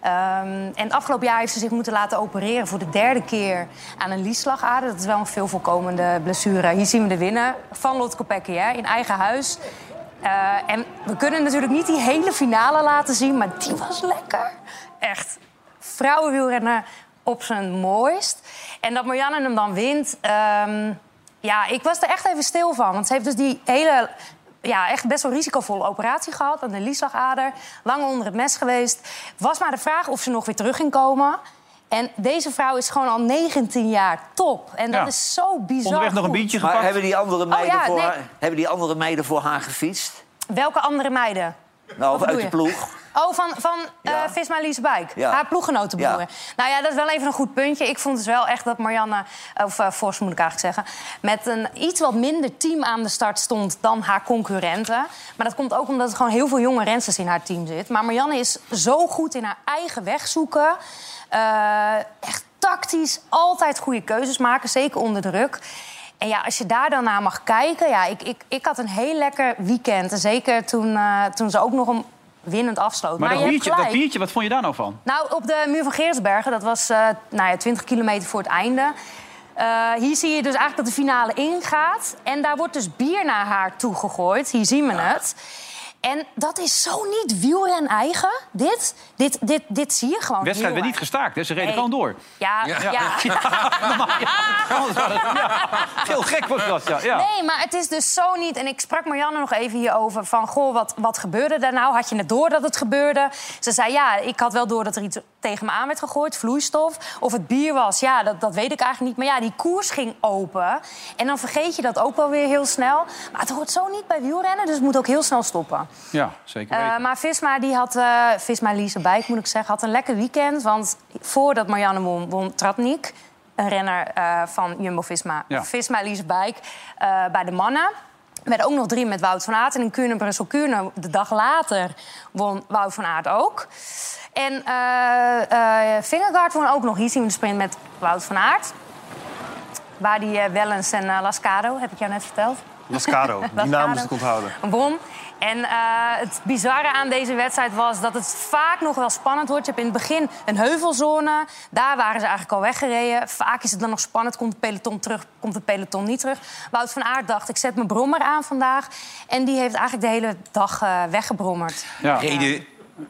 Speaker 13: Ehm, en afgelopen jaar heeft ze zich moeten laten opereren voor de derde keer aan een lieslagader. Dat is wel een veel voorkomende blessure. Hier zien we de winnaar van Lot Kopecky, hè, in eigen huis. Eh, en we kunnen natuurlijk niet die hele finale laten zien, maar die was lekker. Echt vrouwenwielrenner op zijn mooist. En dat Marianne hem dan wint. ehm, ja, ik was er echt even stil van. Want ze heeft dus die hele. Ja, echt best wel risicovolle operatie gehad aan de lieslagader. Lang onder het mes geweest. Was maar de vraag of ze nog weer terug ging komen. En deze vrouw is gewoon al 19 jaar top. En dat
Speaker 4: Ja.
Speaker 13: is zo bizar. goed.
Speaker 4: Maar hebben die andere
Speaker 13: Oh,
Speaker 4: meiden,
Speaker 13: ja,
Speaker 4: voor,
Speaker 13: nee.
Speaker 4: haar, hebben die andere meiden voor haar gefietst?
Speaker 13: Welke andere meiden?
Speaker 4: Nou, of
Speaker 13: Wat
Speaker 4: uit de
Speaker 13: bedoel je?
Speaker 4: ploeg?
Speaker 13: Oh, van, van eh Visma Liesbijk,
Speaker 4: Ja.
Speaker 13: haar ploeggenotenboer.
Speaker 4: Ja.
Speaker 13: Nou ja, dat is wel even een goed puntje. Ik vond dus wel echt dat Marianne, of eh Vos moet ik eigenlijk zeggen... met een iets wat minder team aan de start stond dan haar concurrenten. Maar dat komt ook omdat er gewoon heel veel jonge rensters in haar team zit. Maar Marianne is zo goed in haar eigen weg zoeken. Eh, echt tactisch, altijd goede keuzes maken, zeker onder druk. En ja, als je daar dan naar mag kijken... Ja, ik, ik, ik had een heel lekker weekend. En zeker toen, eh, toen ze ook nog een winnend afsloot.
Speaker 1: Maar, dat,
Speaker 13: je
Speaker 1: biertje,
Speaker 13: hebt
Speaker 1: dat
Speaker 13: gelijk.
Speaker 1: biertje, wat vond je daar nou van?
Speaker 13: Nou, op de muur van Geersbergen, dat was eh nou ja, 20 kilometer voor het einde. Eh, hier zie je dus eigenlijk dat de finale ingaat. En daar wordt dus bier naar haar toegegooid. Hier zien we het. En dat is zo niet wielren eigen. Dit, dit, dit, dit zie je gewoon
Speaker 1: De wedstrijd werd
Speaker 13: heel
Speaker 1: niet gestaakt, hè? ze reden
Speaker 13: Nee.
Speaker 1: gewoon door.
Speaker 13: Ja, [LAUGHS] ja.
Speaker 1: Anders was het- ja. Heel gek was dat, ja. ja.
Speaker 13: Nee, maar het is dus zo niet. En ik sprak Marianne nog even hierover. Van, goh, wat, wat gebeurde daar nou? Had je het door dat het gebeurde? Ze zei, ja, ik had wel door dat er iets tegen me aan werd gegooid. Vloeistof. Of het bier was. Ja, dat, dat weet ik eigenlijk niet. Maar ja, die koers ging open. En dan vergeet je dat ook wel weer heel snel. Maar het hoort zo niet bij wielrennen. Dus het moet ook heel snel stoppen.
Speaker 1: Ja, zeker
Speaker 13: Eh,
Speaker 1: weten.
Speaker 13: maar Visma, die had, eh, Visma Lise Bijk, moet ik zeggen, had een lekker weekend. Want voordat Marianne won, won Tratnik, een renner eh, van Jumbo-Visma.
Speaker 15: Ja.
Speaker 13: Visma Lise Bijk eh, bij de mannen. Met ook nog drie met Wout van Aert. En in Kuurne, Brussel, Kuurne, de dag later won Wout van Aert ook. En eh eh Vingegaard won ook nog. Hier zien we de sprint met Wout van Aert. Waar die eh, Wellens en eh, Lascado, heb ik jou net verteld.
Speaker 2: Lascaro, die naam
Speaker 13: Lascaro.
Speaker 2: is het onthouden.
Speaker 13: Won. En eh, het bizarre aan deze wedstrijd was dat het vaak nog wel spannend wordt. Je hebt in het begin een heuvelzone. Daar waren ze eigenlijk al weggereden. Vaak is het dan nog spannend. Komt het peloton terug? Komt het peloton niet terug? Wout van Aert dacht, ik zet mijn brommer aan vandaag. En die heeft eigenlijk de hele dag eh, weggebrommerd.
Speaker 3: Reden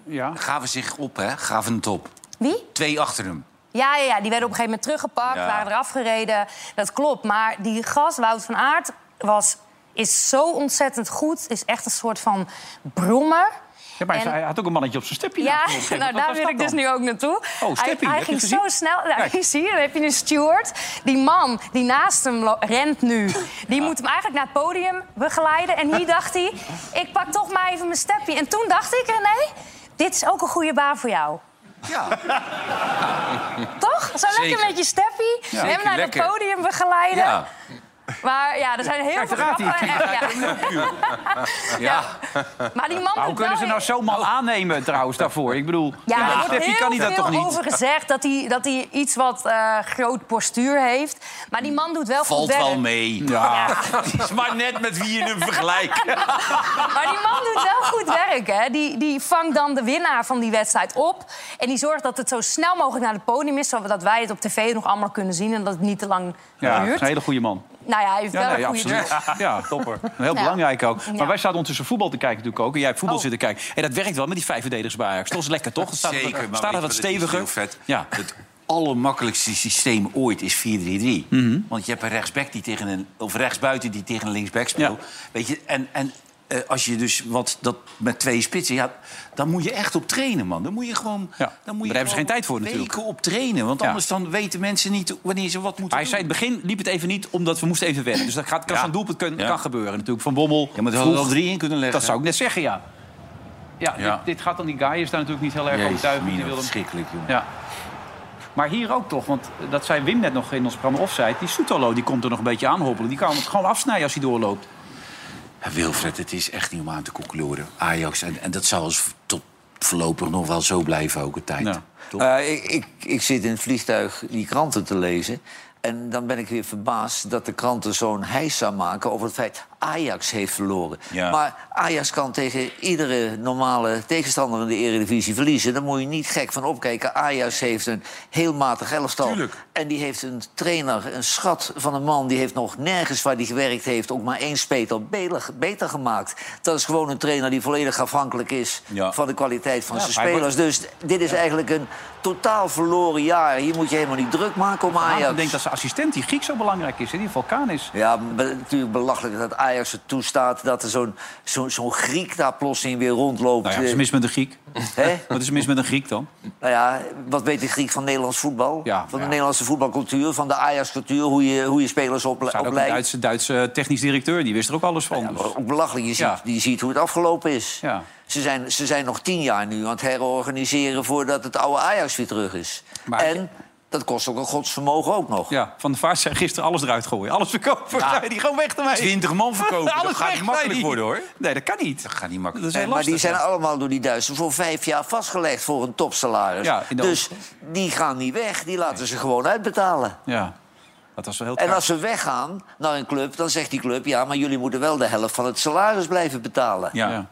Speaker 1: ja.
Speaker 3: gaven zich op, hè? Gaven het op.
Speaker 13: Wie?
Speaker 3: Twee achter hem.
Speaker 13: Ja, ja, ja, die werden op een gegeven moment teruggepakt,
Speaker 3: Ja.
Speaker 13: waren eraf gereden. Dat klopt. Maar die gast, Wout van Aert, was, is zo ontzettend goed. Is echt een soort van brommer.
Speaker 1: Ja, maar
Speaker 13: En-
Speaker 1: hij had ook een mannetje op zijn stipje.
Speaker 13: Ja, [LAUGHS]
Speaker 1: laten zien.
Speaker 13: nou,
Speaker 1: Wat
Speaker 13: daar
Speaker 1: was
Speaker 13: wil
Speaker 1: dat
Speaker 13: ik dus
Speaker 1: dan?
Speaker 13: nu ook naartoe.
Speaker 1: Oh, Steppie,
Speaker 13: hij,
Speaker 1: heb
Speaker 13: hij
Speaker 1: je
Speaker 13: ging
Speaker 1: het
Speaker 13: zo
Speaker 1: gezien?
Speaker 13: snel. Nou,
Speaker 1: Kijk.
Speaker 13: hier zie je, dan heb je een steward. Die man die naast hem lo- rent nu, die moet hem eigenlijk naar het podium begeleiden. En hier dacht hij, ik pak toch maar even mijn steppie. En toen dacht ik, René, dit is ook een goede baan voor jou. Ja. [LAUGHS] Toch? Zo
Speaker 15: Zeker.
Speaker 13: lekker met je steppie.
Speaker 15: Ja.
Speaker 13: hem
Speaker 15: Zeker
Speaker 13: naar
Speaker 15: lekker.
Speaker 13: het podium begeleiden. Maar ja, er zijn heel
Speaker 15: Kijk,
Speaker 13: veel
Speaker 15: daar gaat hij.
Speaker 13: grappen. en- ja. [LAUGHS]
Speaker 1: Ja.
Speaker 13: Maar die man
Speaker 1: Maar hoe
Speaker 13: moet
Speaker 1: kunnen
Speaker 13: wel
Speaker 1: ze nou zo'n man aannemen trouwens daarvoor? Ik bedoel,
Speaker 13: Oh. Ja, er wordt
Speaker 1: Steffi
Speaker 13: heel
Speaker 1: kan die dat
Speaker 13: veel
Speaker 1: toch niet?
Speaker 13: over gezegd dat hij, dat hij iets wat eh, groot postuur heeft. Maar die man doet wel goed
Speaker 3: Valt
Speaker 13: werk.
Speaker 3: wel mee. Het is maar net met wie je hem vergelijkt.
Speaker 13: Maar die man doet wel goed werk, hè. Die, die vangt dan de winnaar van die wedstrijd op. En die zorgt dat het zo snel mogelijk naar het podium is... zodat wij het op tv nog allemaal kunnen zien en dat het niet te lang
Speaker 1: Ja,
Speaker 13: duurt.
Speaker 1: een hele goede man.
Speaker 13: Nou ja, hij heeft
Speaker 1: Ja,
Speaker 13: wel
Speaker 1: nee,
Speaker 13: een goede
Speaker 1: absoluut. Ja, topper. Heel
Speaker 13: Ja.
Speaker 1: belangrijk ook. Maar
Speaker 13: Ja. Oh.
Speaker 1: wij zaten ondertussen voetbal te kijken natuurlijk ook. En jij hebt voetbal zitten kijken. En dat werkt wel met die vijf verdedigers bij Ajax. Dat is lekker, toch? Het staat,
Speaker 3: Zeker, maar
Speaker 1: staat er
Speaker 3: weet
Speaker 1: wat
Speaker 3: je het is
Speaker 1: steviger.
Speaker 3: heel vet. Het allermakkelijkste systeem ooit is 4-3-3.
Speaker 1: Mhm.
Speaker 3: Want je hebt een rechtsback die tegen een of rechtsbuiten die tegen een linksback speelt. Weet je, en, en eh, als je dus wat dat met twee spitsen, ja, dan moet je echt op trainen, man. Dan moet je gewoon. dan moet je
Speaker 1: daar hebben ze
Speaker 3: gewoon
Speaker 1: geen tijd voor natuurlijk.
Speaker 3: Weken op trainen, want
Speaker 1: Ja.
Speaker 3: anders dan weten mensen niet wanneer ze wat moeten
Speaker 1: Maar hij zei in het begin liep het even niet, omdat we moesten even wennen. Dus dat gaat, kan zo'n doelpunt kun- kan gebeuren natuurlijk. Van Bommel
Speaker 3: Ja, maar er hadden er al drie in kunnen leggen.
Speaker 1: Dat zou ik net zeggen, ja. Ja,
Speaker 3: Ja.
Speaker 1: Dit, dit gaat dan... Die guy is daar natuurlijk niet heel erg
Speaker 3: Jezus,
Speaker 1: overtuigd. Die
Speaker 3: Mina,
Speaker 1: wil hem-
Speaker 3: verschrikkelijk, jongen.
Speaker 1: Ja. Maar hier ook toch, want dat zei Wim net nog in ons programma offside. Die Soetalo die komt er nog een beetje aanhoppelen. Die kan het gewoon afsnijden als hij doorloopt.
Speaker 3: doen. Wilfred, het is echt niet om aan te concluderen. Ajax, en, en dat zal als v- tot voorlopig nog wel zo blijven, ook een tijd.
Speaker 4: Eh, ik, ik, ik zit in het vliegtuig die kranten te lezen. En dan ben ik weer verbaasd dat de kranten zo'n heisa maken over het feit Ajax heeft verloren.
Speaker 3: Ja.
Speaker 4: Maar Ajax kan tegen iedere normale tegenstander in de Eredivisie verliezen. Daar moet je niet gek van opkijken. Ajax heeft een heel matig elftal. En die heeft een trainer, een schat van een man. Die heeft nog nergens waar hij gewerkt heeft ook maar één speler beter- beter gemaakt. Dat is gewoon een trainer die volledig afhankelijk is
Speaker 3: Ja.
Speaker 4: van de kwaliteit van
Speaker 3: Ja,
Speaker 4: zijn
Speaker 3: maar hij
Speaker 4: spelers. Dus dit is eigenlijk een totaal verloren jaar. Hier moet je helemaal niet druk maken om
Speaker 1: Ik
Speaker 4: Ajax.
Speaker 1: denk dat zijn assistent, die Griek, zo belangrijk is. hè, Die vulkaan is.
Speaker 4: Ja, be- natuurlijk belachelijk dat Ajax het toestaat... dat er zo'n zo, zo'n Griek daar plotseling weer rondloopt.
Speaker 1: Nou ja, wat is er mis met een Griek?
Speaker 4: Hè?
Speaker 1: Wat is er mis met een Griek dan?
Speaker 4: Nou ja, wat weet de Griek van Nederlands voetbal? van de Nederlandse voetbalcultuur, van de Ajax-cultuur... hoe je, hoe je spelers ople-
Speaker 1: Zou ook een
Speaker 4: opleidt.
Speaker 1: Duitse, Duitse technisch directeur, die wist er ook alles van. Dus-
Speaker 4: Ook belachelijk. Je ziet,
Speaker 1: Ja.
Speaker 4: je ziet hoe het afgelopen is. Ze, zijn, ze zijn nog tien jaar nu aan het herorganiseren... voordat het oude Ajax weer terug is. en dat kost ook een godsvermogen ook nog.
Speaker 1: Ja, Van de Vaart zei gisteren alles eruit gooien. Alles verkopen.
Speaker 4: Ja.
Speaker 1: Zei die gewoon weg ermee.
Speaker 3: 20 man verkopen, dat
Speaker 1: [LAUGHS] alles
Speaker 3: gaat
Speaker 1: weg,
Speaker 3: niet makkelijk
Speaker 1: zei die.
Speaker 3: worden, hoor.
Speaker 1: Nee, dat kan niet. Dat
Speaker 3: gaat niet makkelijk.
Speaker 1: Dat is heel
Speaker 4: maar die
Speaker 1: lastig,
Speaker 4: zijn
Speaker 1: ja.
Speaker 4: allemaal door die Duitsers voor vijf jaar vastgelegd voor een topsalaris.
Speaker 1: Ja, in de
Speaker 4: dus die gaan niet weg, die laten ze gewoon uitbetalen.
Speaker 1: Ja, dat was wel heel
Speaker 4: En als ze weggaan naar een club, dan zegt die club... ja, maar jullie moeten wel de helft van het salaris blijven betalen.
Speaker 1: Ja.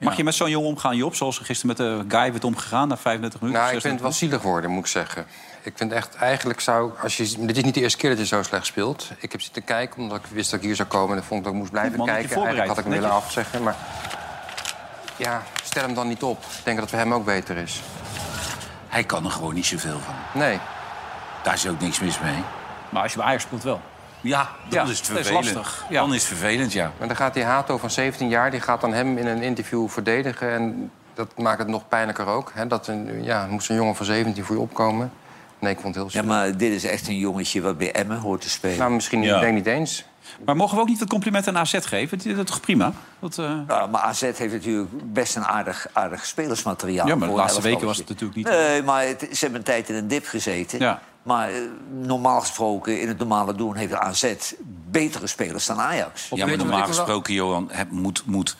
Speaker 1: Mag je met zo'n jongen omgaan, Job? Zoals gisteren met de guy werd omgegaan na 35 minuten.
Speaker 10: Nou, ik vind het wel zielig worden, moet ik zeggen. Ik vind echt, eigenlijk zou... Als je, dit is niet de eerste keer dat je zo slecht speelt. Ik heb zitten kijken, omdat ik wist dat ik hier zou komen... en vond ik dat ik moest blijven
Speaker 1: Goed, man, dat je
Speaker 10: kijken. Eigenlijk had ik hem
Speaker 1: voorbereid.
Speaker 10: willen afzeggen, maar... Ja, stel hem dan niet op. Ik denk dat het voor hem ook beter is.
Speaker 3: Hij kan er gewoon niet zoveel van.
Speaker 10: Nee.
Speaker 3: Daar is ook niks mis mee.
Speaker 1: Maar als je bij Ajax speelt wel.
Speaker 3: Ja, dan
Speaker 1: Ja, dat
Speaker 3: is het
Speaker 1: is
Speaker 3: vervelend.
Speaker 1: lastig,
Speaker 3: Dan is het vervelend, ja.
Speaker 10: Maar dan gaat die Hato van 17 jaar... die gaat dan hem in een interview verdedigen... en dat maakt het nog pijnlijker ook. Hè? Dat een, ja, moest een jongen van 17 voor je opkomen. Nee, ik vond het heel
Speaker 4: Ja,
Speaker 10: zielig.
Speaker 4: maar dit is echt een jongetje wat bij Emmen hoort te spelen.
Speaker 10: Nou, misschien niet-
Speaker 4: Ja.
Speaker 10: ik denk niet eens.
Speaker 1: Maar mogen we ook niet wat complimenten aan AZ geven? Die- Dat is toch prima? Dat, eh,
Speaker 4: Nou, maar AZ heeft natuurlijk best een aardig, aardig spelersmateriaal.
Speaker 1: Ja, maar
Speaker 4: voor
Speaker 1: de
Speaker 4: een
Speaker 1: laatste weken was het
Speaker 4: elftal.
Speaker 1: natuurlijk niet-
Speaker 4: Nee, maar het- ze hebben een tijd in een dip gezeten.
Speaker 1: Ja.
Speaker 4: Maar eh, normaal gesproken, in het normale doen... heeft AZ betere spelers dan Ajax.
Speaker 3: Ja, maar normaal gesproken, Johan, heb- moet, moet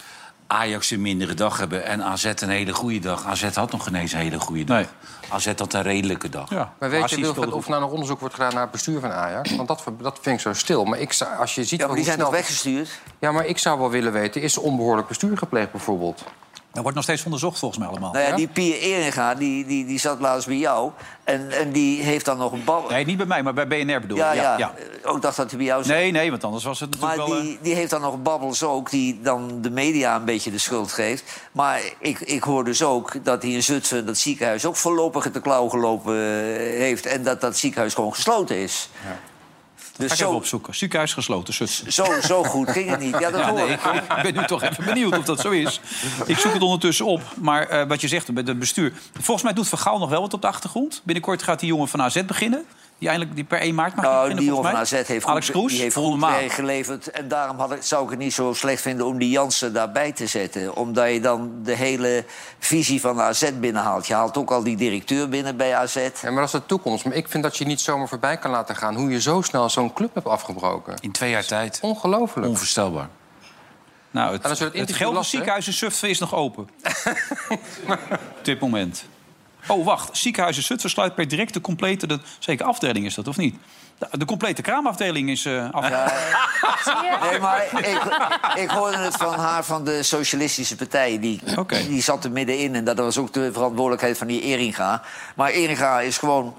Speaker 3: Ajax een mindere dag hebben... en AZ een hele goede dag. AZ had nog ineens een hele goede dag. AZ had een redelijke dag.
Speaker 10: Maar weet
Speaker 3: Als
Speaker 10: je,
Speaker 3: hij
Speaker 10: Wilfred,
Speaker 3: speelde
Speaker 10: of er nou nog onderzoek wordt gedaan naar het bestuur van Ajax? Want dat, dat vind ik zo stil. Maar ik zou, als je ziet
Speaker 4: Ja, maar die
Speaker 10: hoe
Speaker 4: zijn
Speaker 10: snel...
Speaker 4: toch weggestuurd?
Speaker 10: Ja, maar ik zou wel willen weten, is er onbehoorlijk bestuur gepleegd bijvoorbeeld?
Speaker 1: dat wordt nog steeds onderzocht volgens mij allemaal.
Speaker 4: Nou ja, die Pier Eringa, die, die, die zat laatst bij jou. En, en die heeft dan nog een bal...
Speaker 1: Nee, niet bij mij, maar bij BNR bedoel ik.
Speaker 4: Ja, ja. Ook dacht dat hij bij jou zat.
Speaker 1: Nee, nee, want anders was het
Speaker 4: Maar
Speaker 1: natuurlijk wel... eh,
Speaker 4: die, die heeft dan nog babbels ook, die dan de media een beetje de schuld geeft. Maar ik, ik hoor dus ook dat hij in Zutphen dat ziekenhuis ook voorlopig in de klauw gelopen eh, heeft. En dat dat ziekenhuis gewoon gesloten is.
Speaker 1: Ga
Speaker 4: Dus
Speaker 1: ik even
Speaker 4: zo,
Speaker 1: opzoeken. Ziekenhuis gesloten, zus.
Speaker 4: zo, zo goed ging het niet. Ja, dat hoor
Speaker 1: nee, ik,
Speaker 4: ik.
Speaker 1: ik ben nu toch even benieuwd of dat zo is. Ik zoek het ondertussen op. Maar eh, wat je zegt met het bestuur. Volgens mij doet Van Gaal nog wel wat op de achtergrond. Binnenkort gaat die jongen van AZ beginnen. Die eindelijk die per 1 maart mag
Speaker 4: Nou,
Speaker 1: beginnen,
Speaker 4: die jongen van
Speaker 1: volgens
Speaker 4: AZ
Speaker 1: mij.
Speaker 4: heeft
Speaker 1: Alex
Speaker 4: goed,
Speaker 1: Kroes,
Speaker 4: die heeft
Speaker 1: volgende
Speaker 4: goed
Speaker 1: maand.
Speaker 4: werk geleverd. En daarom had ik, zou ik het niet zo slecht vinden om die Jansen daarbij te zetten. Omdat je dan de hele visie van AZ binnenhaalt. Je haalt ook al die directeur binnen bij AZ.
Speaker 10: Ja, maar dat is de toekomst. Maar ik vind dat je niet zomaar voorbij kan laten gaan... hoe je zo snel zo'n club hebt afgebroken.
Speaker 3: In twee jaar tijd.
Speaker 10: Ongelooflijk.
Speaker 3: Onvoorstelbaar.
Speaker 1: Nou, het,
Speaker 10: dan zullen
Speaker 1: het,
Speaker 10: het interview
Speaker 1: Gelderse
Speaker 10: lasten, hè?
Speaker 1: ziekenhuis in Zutphen is nog
Speaker 4: [LAUGHS]
Speaker 1: open. Op dit moment. Oh, wacht. Ziekenhuis in Zutphen sluit per direct de complete... De, zeker afdeling is dat, of niet? De, de complete kraamafdeling is eh af.
Speaker 4: Nee, maar ik, ik hoorde het van haar van de Socialistische Partij. Die, die zat er middenin en dat was ook de verantwoordelijkheid van die Eringa. Maar Eringa is gewoon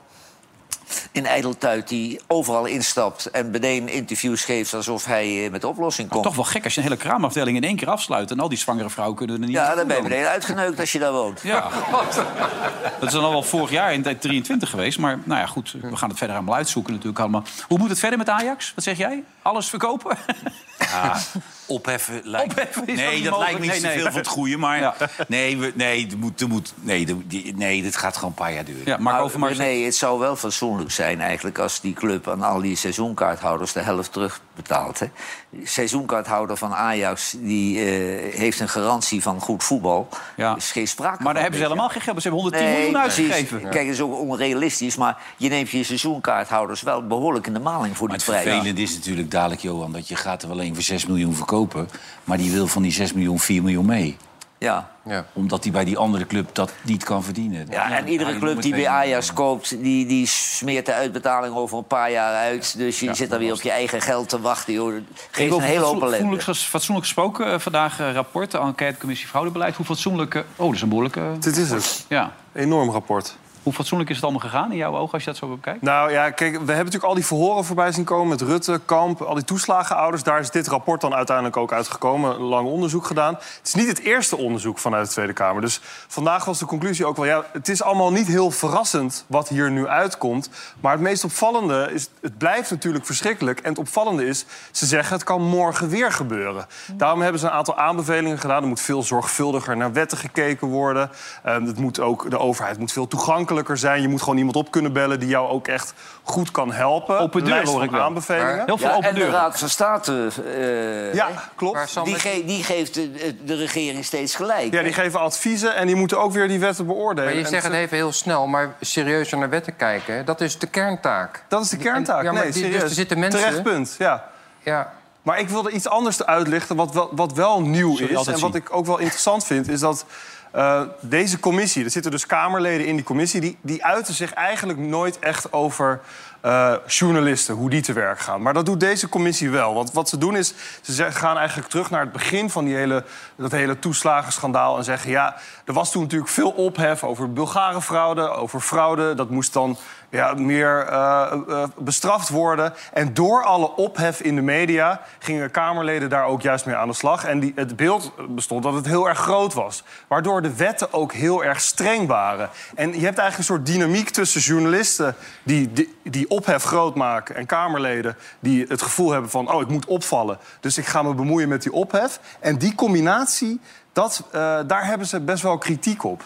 Speaker 4: in ijdeltuit die overal instapt... en meteen interviews geeft alsof hij eh, met de oplossing komt.
Speaker 1: Toch wel gek als je een hele kraamafdeling in één keer afsluit... en al die zwangere vrouwen kunnen er niet
Speaker 4: ja,
Speaker 1: naartoe
Speaker 4: dan ben je
Speaker 1: dan.
Speaker 4: meteen uitgeneukt als je daar
Speaker 1: [LAUGHS]
Speaker 4: woont.
Speaker 1: Ja. Dat is dan al wel vorig jaar in tijd 23 geweest. Maar nou ja, goed, we gaan het verder allemaal uitzoeken natuurlijk allemaal. Hoe moet het verder met Ajax? Wat zeg jij? Alles verkopen?
Speaker 3: Ja, Opheffen lijkt
Speaker 1: Opheffen is ook
Speaker 3: Nee,
Speaker 1: niet
Speaker 3: dat
Speaker 1: mogelijk.
Speaker 3: lijkt me niet
Speaker 1: Nee, nee.
Speaker 3: zoveel van het goede. Maar nee, we, nee, er moet, er moet, nee, er- die- nee, dit gaat gewoon een paar jaar duren. Ah,
Speaker 4: Maar nee, het zou wel fatsoenlijk zijn eigenlijk als die club aan al die seizoenkaarthouders de helft terugbetaalt. Hè. De Seizoenkaarthouder van Ajax die, eh, heeft een garantie van goed voetbal. Er is geen sprake
Speaker 1: Maar daar hebben ze helemaal geen geld. Ze hebben 110 miljoen
Speaker 4: precies.
Speaker 1: uitgegeven.
Speaker 4: Kijk, dat is ook onrealistisch. Maar je neemt je seizoenkaarthouders wel behoorlijk in de maling voor
Speaker 3: Maar
Speaker 4: die
Speaker 3: het
Speaker 4: prijs.
Speaker 3: vervelende is natuurlijk dadelijk, Johan, dat je gaat er wel één voor 6 miljoen verkopen. Maar die wil van die 6 miljoen 4 miljoen mee.
Speaker 4: Ja.
Speaker 2: Eh,
Speaker 3: Omdat hij bij die andere club dat niet kan verdienen.
Speaker 4: Ja, en iedere club die bij Ajax koopt, die, die smeert de uitbetaling over een paar jaar uit. Dus je zit dan weer op je eigen geld te wachten. Joh. Dat Geeft een
Speaker 1: over
Speaker 4: hele hoop
Speaker 1: fatsoen-
Speaker 4: ellende.
Speaker 1: fatsoenlijk ges- Fatsoenlijk gesproken, eh, vandaag eh, rapport, de enquêtecommissie Fraudebeleid. Hoe fatsoenlijk... eh, oh, dat is een behoorlijke...
Speaker 2: Dit is het.
Speaker 1: Ja.
Speaker 2: Enorm rapport.
Speaker 1: Hoe fatsoenlijk is het allemaal gegaan in jouw ogen als je dat zo bekijkt?
Speaker 2: Nou ja, kijk, we hebben natuurlijk al die verhoren voorbij zien komen met Rutte, Kamp, al die toeslagenouders. Daar is dit rapport dan uiteindelijk ook uitgekomen. Lang onderzoek gedaan. Het is niet het eerste onderzoek vanuit de Tweede Kamer. Dus vandaag was de conclusie ook wel, ja, het is allemaal niet heel verrassend wat hier nu uitkomt. Maar het meest opvallende is, het blijft natuurlijk verschrikkelijk. En het opvallende is, ze zeggen het kan morgen weer gebeuren. Daarom hebben ze een aantal aanbevelingen gedaan. Er moet veel zorgvuldiger naar wetten gekeken worden. Ehm het moet ook, de overheid moet veel toegankelijker zijn. Je moet gewoon iemand op kunnen bellen die jou ook echt goed kan helpen. Open
Speaker 4: deur, hoor ik wel.
Speaker 2: aanbevelingen.
Speaker 4: Ja, en de Raad van State. eh,
Speaker 2: Ja,
Speaker 4: hè,
Speaker 2: klopt. Maar Sam,
Speaker 4: Die,
Speaker 2: met-
Speaker 4: ge- die geeft de, de regering steeds gelijk.
Speaker 2: Ja, die geven adviezen en die moeten ook weer die wetten beoordelen.
Speaker 10: Maar je
Speaker 2: En
Speaker 10: zegt het even heel snel, maar serieuzer naar wetten kijken... hè, dat is de kerntaak.
Speaker 2: Dat is de kerntaak.
Speaker 10: En- ja, maar
Speaker 2: nee,
Speaker 10: die-
Speaker 2: serieus.
Speaker 10: Dus er zitten mensen...
Speaker 2: Terecht punt, ja.
Speaker 10: Ja.
Speaker 2: Maar ik wilde iets anders uitlichten wat wel, wat wel nieuw
Speaker 10: je
Speaker 2: is. En
Speaker 10: altijd
Speaker 2: wat
Speaker 10: zien.
Speaker 2: ik ook wel interessant vind, is dat eh, deze commissie... er zitten dus Kamerleden in die commissie... die, die uiten zich eigenlijk nooit echt over eh, journalisten, hoe die te werk gaan. Maar dat doet deze commissie wel. Want wat ze doen is, ze ze gaan eigenlijk terug naar het begin van die hele, dat hele toeslagenschandaal... en zeggen, ja, er was toen natuurlijk veel ophef over Bulgarenfraude, over fraude. Dat moest dan ja, meer eh, eh, bestraft worden. En door alle ophef in de media gingen Kamerleden daar ook juist mee aan de slag. En die, het beeld bestond dat het heel erg groot was. Waardoor de wetten ook heel erg streng waren. En je hebt eigenlijk een soort dynamiek tussen journalisten... die, die, die ophef groot maken en Kamerleden die het gevoel hebben van... oh, ik moet opvallen, dus ik ga me bemoeien met die ophef. En die combinatie, dat, eh, daar hebben ze best wel kritiek op.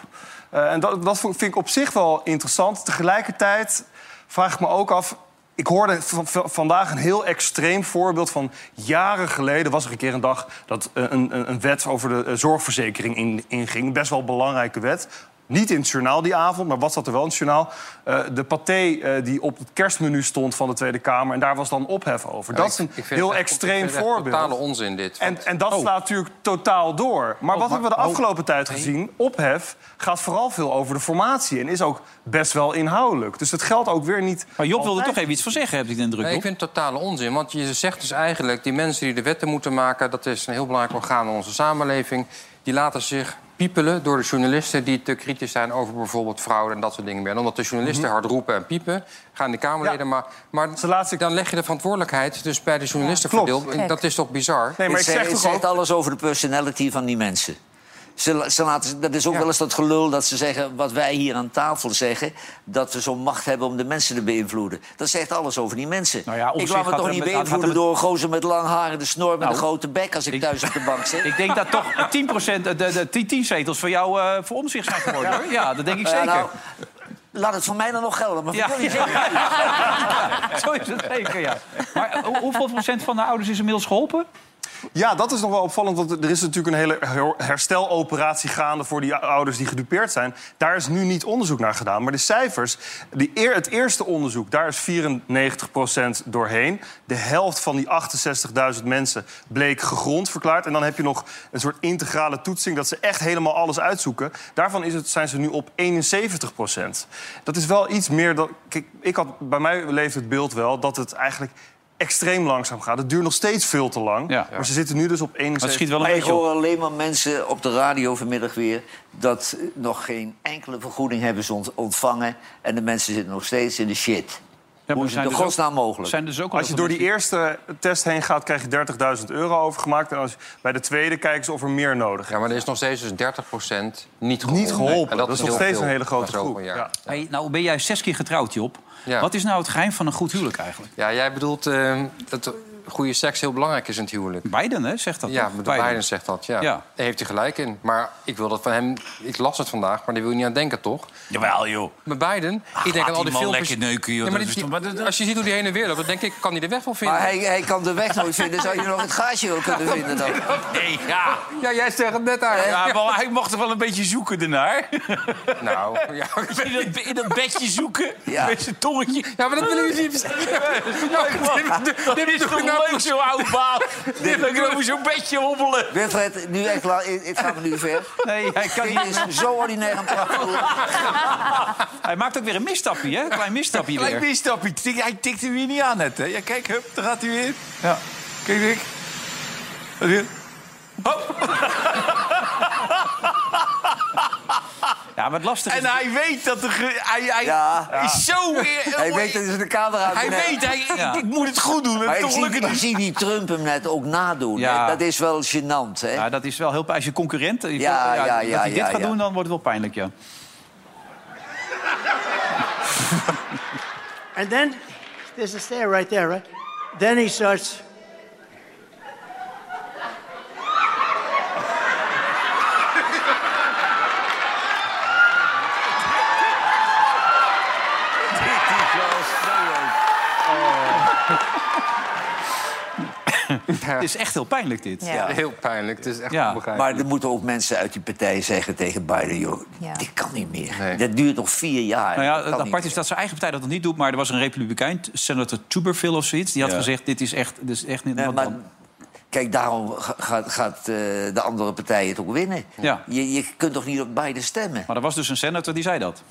Speaker 2: Eh, en dat, dat vind ik op zich wel interessant. Tegelijkertijd vraag ik me ook af. Ik hoorde van- van- vandaag een heel extreem voorbeeld van jaren geleden was er een keer een dag dat eh, een, een, een wet over de eh, zorgverzekering in- inging. Best wel een belangrijke wet. Niet in het journaal die avond, maar was dat er wel in het journaal? Eh, de paté eh, die op het kerstmenu stond van de Tweede Kamer. En daar was dan ophef over. dat is een
Speaker 10: Ik vind het
Speaker 2: heel
Speaker 10: echt- ik
Speaker 2: extreem
Speaker 10: vind het echt
Speaker 2: voorbeeld.
Speaker 10: totale onzin, dit.
Speaker 2: En, en dat
Speaker 1: Oh.
Speaker 2: slaat natuurlijk totaal door. Maar wat hebben we de afgelopen tijd gezien? Ophef gaat vooral veel over de formatie en is ook best wel inhoudelijk. Dus het geldt ook weer niet.
Speaker 1: Maar Job wilde
Speaker 2: altijd.
Speaker 1: toch even iets van zeggen, heb ik de indruk.
Speaker 10: Nee, ik
Speaker 1: Job?
Speaker 10: vind het totale onzin. Want je zegt dus eigenlijk, die mensen die de wetten moeten maken... dat is een heel belangrijk orgaan in onze samenleving... die laten zich piepelen door de journalisten die te kritisch zijn... over bijvoorbeeld fraude en dat soort dingen meer. En omdat de journalisten
Speaker 2: Mhm.
Speaker 10: hard roepen en piepen, gaan de Kamerleden... Maar, maar dan leg je de verantwoordelijkheid dus bij de journalisten
Speaker 4: Ja, klopt.
Speaker 10: verdeeld. En
Speaker 4: Gek.
Speaker 10: dat is toch bizar?
Speaker 4: het zegt, het zegt alles over de personality van die mensen. Ze, la- ze laten, dat is ook wel eens dat gelul dat ze zeggen... wat wij hier aan tafel zeggen... dat we zo'n macht hebben om de mensen te beïnvloeden. Dat zegt alles over die mensen.
Speaker 1: Nou
Speaker 4: ik
Speaker 1: op zich
Speaker 4: laat me
Speaker 1: gaat
Speaker 4: toch
Speaker 1: er
Speaker 4: niet
Speaker 1: met- gaat er
Speaker 4: beïnvloeden
Speaker 1: met-
Speaker 4: door een gozer met lang haar en de snor... met
Speaker 1: Nou,
Speaker 4: een grote bek als ik, thuis op de bank zit.
Speaker 1: [LAUGHS] Ik denk dat toch 10%, de, de, 10, 10 zetels voor jou eh, voor omzicht zijn geworden. hoor. Ja, dat denk ik
Speaker 4: Ja,
Speaker 1: zeker.
Speaker 4: nou, laat het voor mij dan nog gelden, maar voor
Speaker 1: Ja.
Speaker 4: jullie zeker niet.
Speaker 1: Zo is het zeker, ja. Maar eh, hoe- hoeveel procent van de ouders is inmiddels geholpen?
Speaker 2: Ja, dat is nog wel opvallend, want er is natuurlijk een hele her- hersteloperatie gaande voor die ouders die gedupeerd zijn. Daar is nu niet onderzoek naar gedaan. Maar de cijfers, die eer, het eerste onderzoek, daar is 94% doorheen. De helft van die 68.000 mensen bleek gegrond verklaard. En dan heb je nog een soort integrale toetsing dat ze echt helemaal alles uitzoeken. Daarvan is het, zijn ze nu op 71 Dat is wel iets meer dan. Kijk, ik had, bij mij leeft het beeld wel dat het eigenlijk extreem langzaam gaat. Het duurt nog steeds veel te lang. Maar ze zitten nu dus op 71.
Speaker 4: Maar ik hoor alleen maar mensen op de radio vanmiddag weer... dat eh, nog geen enkele vergoeding hebben ze ont- ontvangen... en de mensen zitten nog steeds in de shit. Hoe is het
Speaker 2: zijn
Speaker 4: in
Speaker 2: dus ook-
Speaker 4: godsnaam mogelijk?
Speaker 2: als je door die eerste test heen gaat, krijg je 30.000 euro overgemaakt. En als je- bij de tweede kijken ze of er meer nodig is. Ja,
Speaker 10: maar er is nog steeds dus 30 procent niet
Speaker 2: geholpen. Niet geholpen.
Speaker 10: En
Speaker 2: dat, is
Speaker 10: is
Speaker 2: nog
Speaker 10: heel
Speaker 2: steeds
Speaker 10: veel.
Speaker 2: een hele grote
Speaker 10: Dat is ook
Speaker 2: groep.
Speaker 10: een jaar.
Speaker 2: Ja.
Speaker 1: Hey, nou ben jij zes keer getrouwd, Job. Wat is nou het geheim van een goed huwelijk eigenlijk?
Speaker 10: Ja, jij bedoelt eh, dat goede seks heel belangrijk is in het huwelijk.
Speaker 1: Biden, hè, zegt dat.
Speaker 10: Ja,
Speaker 1: toch?
Speaker 10: de Biden. zegt dat, ja.
Speaker 1: Ja.
Speaker 10: Daar heeft hij gelijk in. Maar ik wil dat van hem... Ik las het vandaag, maar daar wil je niet aan denken, toch?
Speaker 3: Jawel, joh.
Speaker 10: Met Biden, ik denk
Speaker 3: Ah, laat
Speaker 10: aan al die
Speaker 3: die man
Speaker 10: filmpjes...
Speaker 3: lekker neuken, joh.
Speaker 10: Ja, maar
Speaker 3: Dat
Speaker 10: dit-
Speaker 3: is toch-
Speaker 10: Als je ziet hoe die heen en weer loopt, dan denk ik, kan hij de weg wel vinden.
Speaker 4: Maar hij, hij kan de weg nooit vinden. Zou je nog het gaasje wel kunnen vinden dan?
Speaker 3: Nee, ja.
Speaker 10: Ja, jij zegt het net aan.
Speaker 3: Ja, maar hij mocht er wel een beetje zoeken daarnaar. [LAUGHS]
Speaker 10: Nou, ja.
Speaker 3: In dat, in dat bedje zoeken,
Speaker 4: Ja.
Speaker 3: met zijn tongetje.
Speaker 10: Ja, maar dat willen jullie
Speaker 4: [LAUGHS]
Speaker 10: niet
Speaker 3: [LAUGHS] Dat is toch leuk, zo'n oude [LAUGHS] baal. Dan kunnen we zo'n bedje hobbelen.
Speaker 4: Wilfred, nu echt la- het het gaat me nu ver.
Speaker 1: Nee, hij kan
Speaker 3: [LAUGHS]
Speaker 4: Dit
Speaker 1: niet.
Speaker 4: is zo ordinair aan het
Speaker 1: Hij maakt ook weer een misstapje, hè? Klein
Speaker 3: [LAUGHS]
Speaker 1: misstapje
Speaker 3: Klein
Speaker 1: weer.
Speaker 3: misstapje. Tik- Hij tikt hem weer niet aan net, hè. Ja, kijk, hup, daar gaat hij weer in. Ja. Kijk, kijk. Wat is Oh! het? Hop.
Speaker 1: Ja, maar het lastige
Speaker 3: En
Speaker 1: is...
Speaker 3: hij weet dat de... ge- Hij, hij
Speaker 4: Ja.
Speaker 3: is zo weer... Oh,
Speaker 4: Hij weet dat hij de camera
Speaker 3: Hij weet, hij, ik- ik, moet het goed doen.
Speaker 4: Maar
Speaker 3: En
Speaker 4: ik
Speaker 3: toch
Speaker 4: zie,
Speaker 3: lukt het
Speaker 4: ik
Speaker 3: niet.
Speaker 4: zie die Trump hem net ook nadoen.
Speaker 1: Ja.
Speaker 4: hè. Dat is wel gênant, hè?
Speaker 1: Ja, dat is wel heel... Als je concurrent... eh, Ja,
Speaker 4: ja, ja,
Speaker 1: dat hij dit
Speaker 4: ja,
Speaker 1: gaat
Speaker 4: ja.
Speaker 1: doen, dan wordt het wel pijnlijk, ja.
Speaker 15: And then there's a stare right there, right? Then he starts.
Speaker 1: Oh. [LAUGHS] Het is echt heel pijnlijk, dit.
Speaker 4: Ja.
Speaker 10: Heel pijnlijk, het is echt
Speaker 1: Ja,
Speaker 10: onbegrijpelijk.
Speaker 4: Maar er moeten ook mensen uit die partij zeggen tegen Biden... joh,
Speaker 13: Ja.
Speaker 4: dit kan niet meer. Dat duurt nog vier jaar.
Speaker 1: Nou ja,
Speaker 4: Dat
Speaker 1: het
Speaker 4: kan niet
Speaker 1: apart is dat zijn eigen partij dat nog niet doet. Maar er was een republikein, senator Tuberville of zoiets... die had
Speaker 4: Ja.
Speaker 1: gezegd, dit is echt, dit is echt niet...
Speaker 4: Nee,
Speaker 1: wat
Speaker 4: maar
Speaker 1: dan-
Speaker 4: kijk, daarom ga- gaat, gaat eh, de andere partij het ook winnen.
Speaker 1: Ja.
Speaker 4: Je, je kunt toch niet op beide stemmen?
Speaker 1: Maar er was dus een senator die zei dat.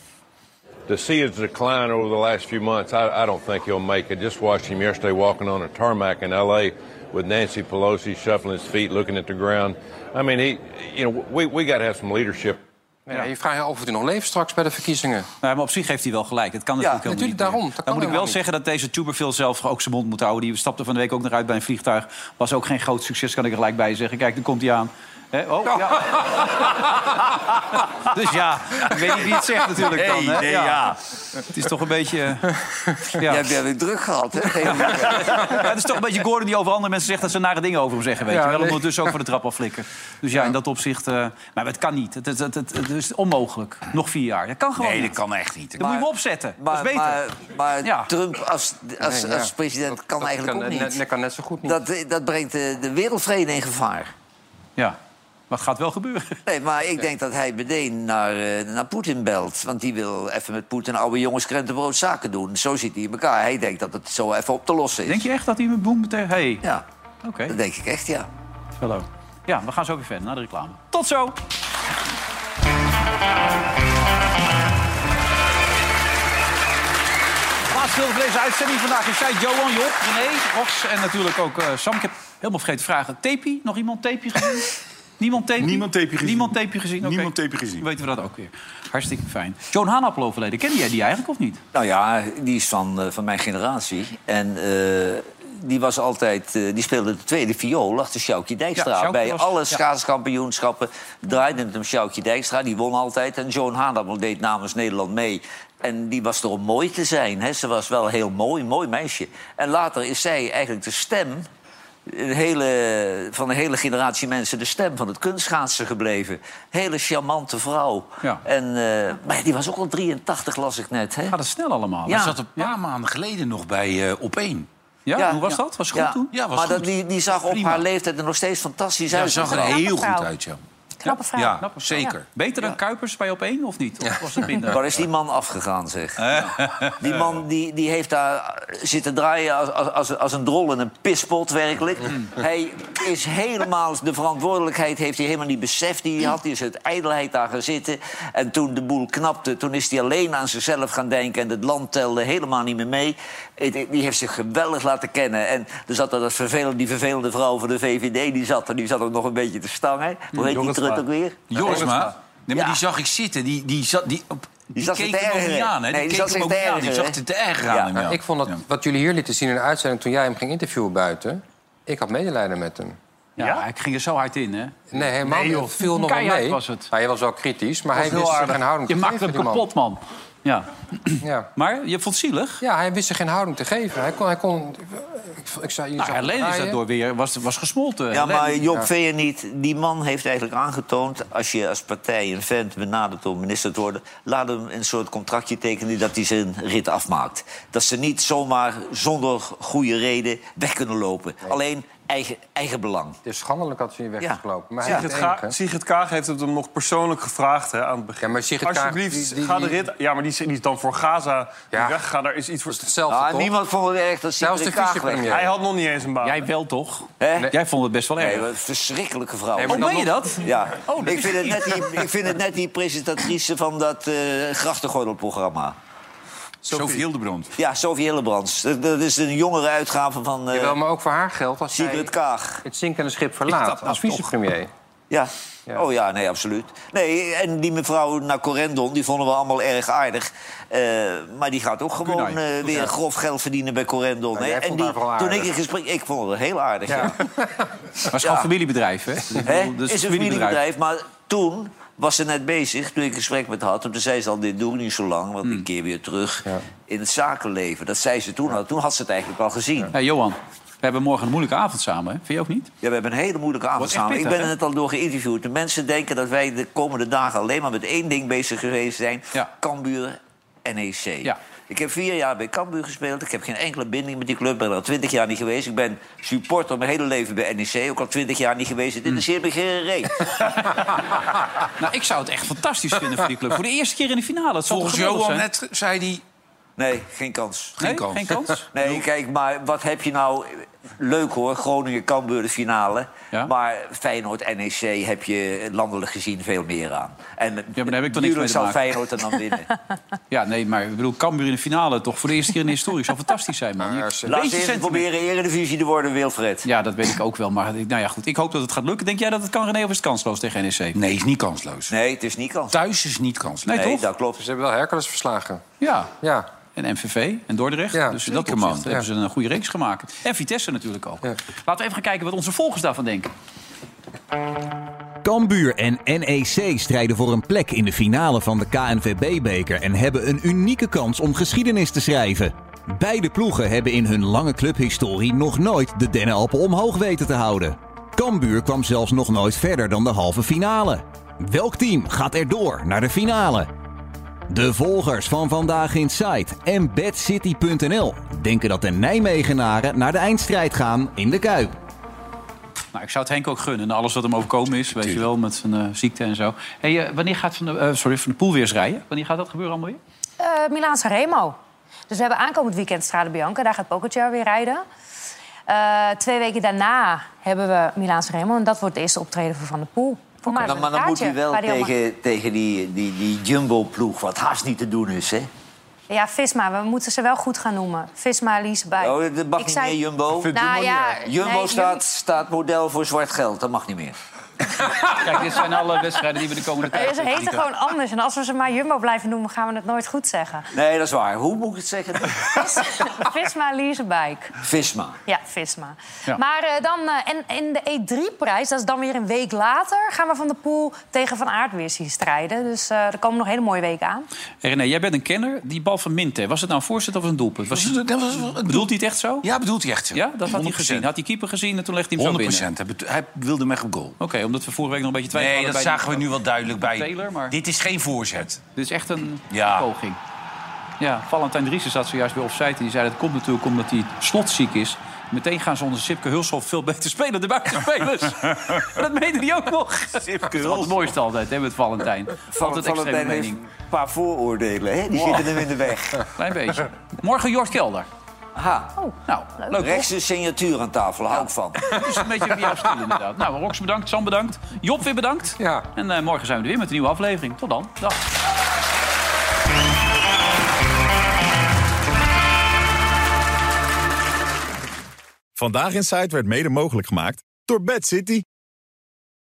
Speaker 17: To see his decline over the last few months, I, I don't think he'll make it. Just watched him yesterday walking on a tarmac in L.A. with Nancy Pelosi shuffling his feet, looking at the ground. I mean, he, you know, we, we got to have some leadership.
Speaker 10: Ja, je vraagt je af of hij nog leeft straks bij de verkiezingen.
Speaker 1: Nou, maar op zich heeft hij wel gelijk. Het kan natuurlijk, helemaal
Speaker 10: natuurlijk,
Speaker 1: niet meer.
Speaker 10: daarom. Dat kan
Speaker 1: Dan moet ik wel
Speaker 10: helemaal niet.
Speaker 1: zeggen dat deze Tuberville zelf ook zijn mond moet houden. Die stapte van de week ook nog uit bij een vliegtuig. Was ook geen groot succes, kan ik er gelijk bij zeggen. Kijk, daar komt hij aan. Hè? Oh,
Speaker 3: [LAUGHS]
Speaker 1: ja. dus ja, ik weet niet wie het zegt natuurlijk dan. Hè?
Speaker 3: Hey, nee, ja.
Speaker 1: Het is toch een beetje... eh, Ja.
Speaker 4: Jij hebt weer druk gehad, hè?
Speaker 1: [LAUGHS] Ja, het is toch een beetje Gordon die over andere mensen zegt... dat ze nare dingen over hem zeggen, weet
Speaker 4: Ja,
Speaker 1: je wel.
Speaker 4: nee.
Speaker 1: Ondertussen ook van de trap afflikken. Dus ja, in dat opzicht... eh, maar het kan niet. Het, het, het, het- het is onmogelijk. Nog vier jaar. Dat kan gewoon
Speaker 3: [LAUGHS] Nee,
Speaker 1: niet.
Speaker 3: dat kan echt niet.
Speaker 1: Dan moet je hem opzetten.
Speaker 4: Maar,
Speaker 1: dat is beter.
Speaker 4: maar, maar
Speaker 1: Ja.
Speaker 4: Trump als, als,
Speaker 10: Nee, ja.
Speaker 4: als president kan
Speaker 10: dat
Speaker 4: eigenlijk
Speaker 10: kan
Speaker 4: ook niet.
Speaker 10: net- net- kan net zo goed niet.
Speaker 4: Dat, eh, dat brengt de, de wereldvrede in gevaar.
Speaker 1: Ja, maar het gaat wel gebeuren. [LAUGHS]
Speaker 4: Nee, maar ik denk dat hij meteen naar, eh, naar Poetin belt. Want die wil even met Poetin oude jongens krentenbrood zaken doen. Zo zit hij in elkaar. Hij denkt dat het zo even op te lossen is.
Speaker 1: Denk je echt dat hij met boem meteen... Hey.
Speaker 4: Ja,
Speaker 1: Oké,
Speaker 4: dat denk ik echt, ja.
Speaker 1: hallo. Ja, we gaan zo weer verder naar de reclame. Tot zo! Laatste deel van deze uitzending vandaag is zij Johan, Job, René, Rox en natuurlijk ook eh, Sam. Ik heb helemaal vergeten te vragen. Tapie? Nog iemand tapie gezien? [LAUGHS] Niemand tapie? Niemand tapie gezien. Niemand tapie gezien? Niemand tapie gezien. Dan weten we dat ook weer. Hartstikke fijn. Joan Hanappel overleden. Ken jij die eigenlijk of niet?
Speaker 4: Nou ja, die is van, eh, van mijn generatie. En eh, die was altijd... eh, die speelde de tweede viool achter Sjoukje Dijkstra.
Speaker 1: Ja, Sjoukje
Speaker 4: Bij
Speaker 1: was-
Speaker 4: alle
Speaker 1: ja.
Speaker 4: schaatskampioenschappen draaide het om Sjoukje Dijkstra. Die won altijd. En Joan Hanappel deed namens Nederland mee. En die was er om mooi te zijn. Hè. Ze was wel heel mooi, mooi meisje. En later is zij eigenlijk de stem... Een hele, van een hele generatie mensen de stem van het kunstschaatsen gebleven. Hele charmante vrouw.
Speaker 1: Ja.
Speaker 4: En, eh, maar die was ook al 83, las ik net. Hè?
Speaker 1: Gaat het snel allemaal?
Speaker 4: Ja.
Speaker 3: Hij zat een paar maanden geleden nog bij eh, Opeen.
Speaker 1: Ja? hoe was dat? Was het goed
Speaker 4: ja.
Speaker 1: toen?
Speaker 3: Ja, was
Speaker 4: maar dat-
Speaker 3: goed.
Speaker 4: die, die zag op haar leeftijd er nog steeds fantastisch
Speaker 3: Ja,
Speaker 4: uit.
Speaker 3: zag er
Speaker 4: Knappe
Speaker 3: heel
Speaker 4: vrouw.
Speaker 3: goed uit, ja.
Speaker 4: Knappe vrouw.
Speaker 3: Ja, zeker.
Speaker 1: Beter dan Kuipers bij op één of niet? Of was
Speaker 4: [LAUGHS]
Speaker 1: het minder?
Speaker 4: Waar is die man afgegaan, zeg? Die man die, die heeft daar zitten draaien als, als- als, als een drol in een pispot, werkelijk. Hij is helemaal... De verantwoordelijkheid heeft hij helemaal niet beseft die hij had. Die is uit ijdelheid daar gaan zitten. En toen de boel knapte, toen is hij alleen aan zichzelf gaan denken... en het land telde helemaal niet meer mee. Het- het- Die heeft zich geweldig laten kennen. En er zat er dat vervelende, die vervelende vrouw van de VVD... die zat er, die zat ook nog een beetje te stangen. Hoe heet die
Speaker 3: Jorisma.
Speaker 4: trut ook weer?
Speaker 3: Jorisma? Nee, maar die zag ik zitten. Die, die zat... Die, op, die,
Speaker 4: zat
Speaker 3: keek
Speaker 4: zich te
Speaker 3: hem ook niet
Speaker 4: ergeren.
Speaker 3: aan, hè?
Speaker 4: Nee,
Speaker 3: die
Speaker 4: die
Speaker 3: keek
Speaker 4: zat
Speaker 3: hem
Speaker 4: zich
Speaker 3: ook
Speaker 4: te
Speaker 3: niet
Speaker 4: ergeren,
Speaker 3: aan. Die zag
Speaker 4: hè?
Speaker 3: het te erg aan hem,
Speaker 10: Maar
Speaker 3: ja.
Speaker 10: Ik vond dat wat jullie hier lieten zien in de uitzending toen jij hem ging interviewen buiten. Ik had medelijden met hem.
Speaker 1: Ja, ik ging er zo hard in, hè?
Speaker 10: Nee, helemaal
Speaker 1: Nee,
Speaker 10: niet.
Speaker 1: joh.
Speaker 10: Het viel nog wel
Speaker 1: Keihard
Speaker 10: mee.
Speaker 1: was het.
Speaker 10: Nou, hij was wel kritisch, maar
Speaker 1: Was
Speaker 10: hij
Speaker 1: heel
Speaker 10: wist er
Speaker 1: aardig.
Speaker 10: geen houding
Speaker 1: Je
Speaker 10: te
Speaker 1: maakt
Speaker 10: geven.
Speaker 1: hem
Speaker 10: die man.
Speaker 1: kapot, man. Ja.
Speaker 10: Ja.
Speaker 1: Maar je vond het zielig?
Speaker 10: ja, hij wist er geen houding te geven. Hij kon, hij kon, ik ik zou je
Speaker 1: Nou,
Speaker 10: zou
Speaker 1: Helene is
Speaker 10: draaien.
Speaker 1: daardoor weer was, was gesmolten.
Speaker 4: Ja, maar
Speaker 1: Helene-
Speaker 4: Job Veer niet. Die man heeft eigenlijk aangetoond... als je als partij een vent benadert om minister te worden... laat hem een soort contractje tekenen dat hij zijn rit afmaakt. Dat ze niet zomaar zonder goede reden weg kunnen lopen. Alleen eigen, eigen belang.
Speaker 10: Het is schandelijk dat ze hier weg is gelopen. Maar hij
Speaker 2: Sigrid,
Speaker 10: is
Speaker 2: Ka-
Speaker 10: de enige.
Speaker 2: Sigrid Kaag heeft het hem nog persoonlijk gevraagd hè, aan het begin.
Speaker 10: Ja, maar Sigrid Kaag,
Speaker 2: Alsjeblieft,
Speaker 10: die- die-
Speaker 2: ga de
Speaker 10: die-
Speaker 2: rit... Ja, maar die, is- die is dan voor Gaza ja. weggegaan. Daar is iets voor...
Speaker 10: hetzelfde,
Speaker 1: Nou,
Speaker 10: Ah, toch? niemand
Speaker 4: vond het erg dat
Speaker 10: Zelfs Sigrid de Kaag vicepremier. weg-
Speaker 2: Hij had nog niet eens een baan.
Speaker 1: Jij wel toch?
Speaker 4: Hè?
Speaker 1: Jij vond het best wel
Speaker 4: Nee,
Speaker 1: erg.
Speaker 4: wat een verschrikkelijke vrouw.
Speaker 1: Nee, maar Oh, dan meen je nog- dat?
Speaker 4: Ja.
Speaker 1: Oh, dat
Speaker 4: ik,
Speaker 1: is
Speaker 4: vind het
Speaker 1: niet.
Speaker 4: net die, ik vind het net die presentatrice van dat eh grachtengordelprogramma.
Speaker 1: Sophie Hildebrand.
Speaker 4: Ja, Sophie Hillebrands. Dat, dat is een jongere uitgave van... eh,
Speaker 10: Jawel, maar ook voor haar geldt als zij
Speaker 4: Sigrid Kaag.
Speaker 10: het zinkende schip verlaat als
Speaker 1: nou,
Speaker 10: vicepremier.
Speaker 4: Ja. Oh ja, nee, absoluut. Nee, en die mevrouw Nacorendon, die vonden we allemaal erg aardig. Eh, maar die gaat ook gewoon
Speaker 10: Goedenai.
Speaker 4: eh, weer
Speaker 10: Ja.
Speaker 4: grof geld verdienen bij Corendon.
Speaker 10: Nou,
Speaker 4: hè.
Speaker 10: jij vond
Speaker 4: en die,
Speaker 10: haar vooral
Speaker 4: toen
Speaker 10: aardig.
Speaker 4: ik in gesprek... Ik vond het heel aardig, ja.
Speaker 1: Maar het is gewoon
Speaker 4: Ja.
Speaker 1: familiebedrijf, hè? Ik bedoel,
Speaker 4: Hè?
Speaker 1: dat
Speaker 10: dus
Speaker 4: is een familiebedrijf, maar toen was ze net bezig, toen ik een gesprek met haar had. Toen zei ze al, dit doe ik niet zo lang, want
Speaker 10: Hmm.
Speaker 4: ik keer weer terug in het zakenleven. Dat zei ze toen al. Toen had ze het eigenlijk al gezien. Ja,
Speaker 1: Hey, Johan, we hebben morgen een moeilijke avond samen. hè? Vind je ook niet?
Speaker 4: we hebben een hele moeilijke avond
Speaker 1: Wordt echt
Speaker 4: samen. Ik
Speaker 1: pittig,
Speaker 4: ben er
Speaker 1: hè?
Speaker 4: net al door geïnterviewd. De mensen denken dat wij de komende dagen alleen maar met één ding bezig geweest zijn. Cambuur NEC. Ik heb vier jaar bij Cambuur gespeeld. Ik heb geen enkele binding met die club. Ik ben er al twintig jaar niet geweest. Ik ben supporter mijn hele leven bij NEC. Ook al twintig jaar niet geweest. Het interesseert me geen reet.
Speaker 1: [LAUGHS] Nou, ik zou het echt fantastisch vinden voor die club. Voor de eerste keer in de finale. Het zou
Speaker 4: Volgens
Speaker 1: toch geweldig
Speaker 4: Johan
Speaker 1: zijn?
Speaker 4: net zei hij... Nee, geen kans.
Speaker 1: Geen Nee, kans. geen kans?
Speaker 4: nee, kijk, maar wat heb je nou... Leuk hoor, Groningen-Cambuur de finale. Maar Feyenoord-NEC heb je landelijk gezien veel meer aan. En ja, maar
Speaker 1: heb ik toch niks mee te
Speaker 4: zal
Speaker 1: maken.
Speaker 4: Feyenoord
Speaker 1: [LAUGHS]
Speaker 4: er dan winnen.
Speaker 1: Ja, nee, maar ik bedoel, Cambuur in de finale toch voor de eerste keer in de historie. zou fantastisch zijn, man. Laat
Speaker 4: Laat ze eerst proberen Eredivisie te worden, Wilfred.
Speaker 1: Ja, dat weet ik ook wel. Maar ik- nou ja, goed, ik hoop dat het gaat lukken. Denk jij dat het kan, René, of is het kansloos tegen NEC?
Speaker 18: Nee, is niet kansloos.
Speaker 4: Nee, het is niet kansloos.
Speaker 18: Thuis is niet kansloos.
Speaker 1: Nee, toch?
Speaker 4: dat klopt.
Speaker 10: Ze hebben wel Hercules verslagen.
Speaker 1: Ja.
Speaker 10: ja.
Speaker 1: En MVV en Dordrecht.
Speaker 10: Ja,
Speaker 1: dus in dat
Speaker 10: zeker,
Speaker 1: opzicht
Speaker 10: man. Ja.
Speaker 1: hebben ze een goede reeks gemaakt. En Vitesse natuurlijk ook. Laten we even gaan kijken wat onze volgers daarvan denken.
Speaker 19: Cambuur en NEC strijden voor een plek in de finale van de KNVB-beker en hebben een unieke kans om geschiedenis te schrijven. Beide ploegen hebben in hun lange clubhistorie nog nooit de Dennenappen omhoog weten te houden. Cambuur kwam zelfs nog nooit verder dan de halve finale. Welk team gaat er door naar de finale? De volgers van Vandaag in Site en BadCity.nl denken dat de Nijmegenaren naar de eindstrijd gaan in de Kuip.
Speaker 1: Nou, ik zou het Henk ook gunnen. na Alles wat hem overkomen is, weet je wel, met zijn eh, ziekte en zo. Hey, eh, wanneer gaat Van de, eh, sorry, van de Poel weer eens rijden? Wanneer gaat dat gebeuren allemaal weer?
Speaker 13: Eh Milaan Sanremo. Dus we hebben aankomend weekend Strade Bianca. Daar gaat Pogacar weer rijden. Eh, twee weken daarna hebben we Milaan Sanremo. En dat wordt de eerste optreden voor Van der Poel. Voor mij
Speaker 4: Dan,
Speaker 13: met
Speaker 4: maar
Speaker 13: een
Speaker 4: dan moet
Speaker 13: kaartje,
Speaker 4: hij wel
Speaker 13: waar die allemaal-
Speaker 4: tegen, tegen die, die, die Jumbo-ploeg... wat haast niet te doen is, hè?
Speaker 13: Ja, Visma. We moeten ze wel goed gaan noemen. Visma Elisabeth.
Speaker 4: Oh, dat mag niet meer, Jumbo.
Speaker 13: Nou ja,
Speaker 4: Jumbo
Speaker 13: nee,
Speaker 4: staat, staat model voor zwart geld. Dat mag niet meer.
Speaker 1: Kijk, dit zijn alle wedstrijden die we de komende tijd...
Speaker 13: Ze heten gewoon anders. En als we ze maar Jumbo blijven noemen, gaan we het nooit goed
Speaker 4: [LAUGHS]
Speaker 13: zeggen.
Speaker 4: Nee, dat is waar. Hoe moet ik het
Speaker 1: [LAUGHS]
Speaker 4: zeggen?
Speaker 13: Visma Leasebike.
Speaker 4: Visma.
Speaker 13: Ja, Visma.
Speaker 4: Ja.
Speaker 13: Maar eh, dan, eh, en in de E3-prijs, dat is dan weer een week later... gaan we Van de Poel tegen Van Aert weer zien strijden. Dus eh, er komen nog hele mooie weken aan.
Speaker 1: Hey, René, jij bent een kenner. Die bal van Minte, was het nou een voorzet of een doelpunt? Was het, bedoelt hij het echt zo?
Speaker 18: Ja, bedoelt hij echt zo.
Speaker 1: Ja, dat had hij
Speaker 18: 100%.
Speaker 1: gezien. Had die keeper gezien en toen legde hij hem zo
Speaker 18: 100
Speaker 1: binnen.
Speaker 18: Hij, bet- hij wilde hem echt op goal. Oké,
Speaker 1: omdat we vorige week nog een beetje twijfelden
Speaker 18: Nee, dat
Speaker 1: bij die-
Speaker 18: zagen we nu wel duidelijk bij.
Speaker 1: Taylor, maar-
Speaker 18: Dit is geen voorzet.
Speaker 1: Dit is echt een
Speaker 18: Ja.
Speaker 1: poging. Ja, Valentijn Driessen zat zojuist weer offside. En die zei dat komt natuurlijk omdat hij slotziek is. Meteen gaan ze onder Sipke Hulshoff veel beter spelen dan de buitenspelers.
Speaker 18: [LAUGHS]
Speaker 1: Maar dat meende hij ook nog. Sipke Dat is het mooiste altijd, hè, met Valentijn. Altijd extreme
Speaker 4: Valentijn heeft
Speaker 1: mening.
Speaker 4: een paar vooroordelen, hè? Die
Speaker 1: Wow.
Speaker 4: zitten hem in de
Speaker 1: [LAUGHS]
Speaker 4: weg.
Speaker 1: Klein beetje. Morgen Jort Kelder.
Speaker 4: Aha.
Speaker 1: nou, leuk
Speaker 4: Rechts een signatuur aan tafel, hou ik van.
Speaker 1: Dus een beetje op jouw stil inderdaad. Nou, Rox bedankt, Sam bedankt, Job weer bedankt. En eh, morgen zijn we er weer met een nieuwe aflevering. Tot dan. Dag.
Speaker 20: Vandaag in Site werd mede mogelijk gemaakt door Bad City.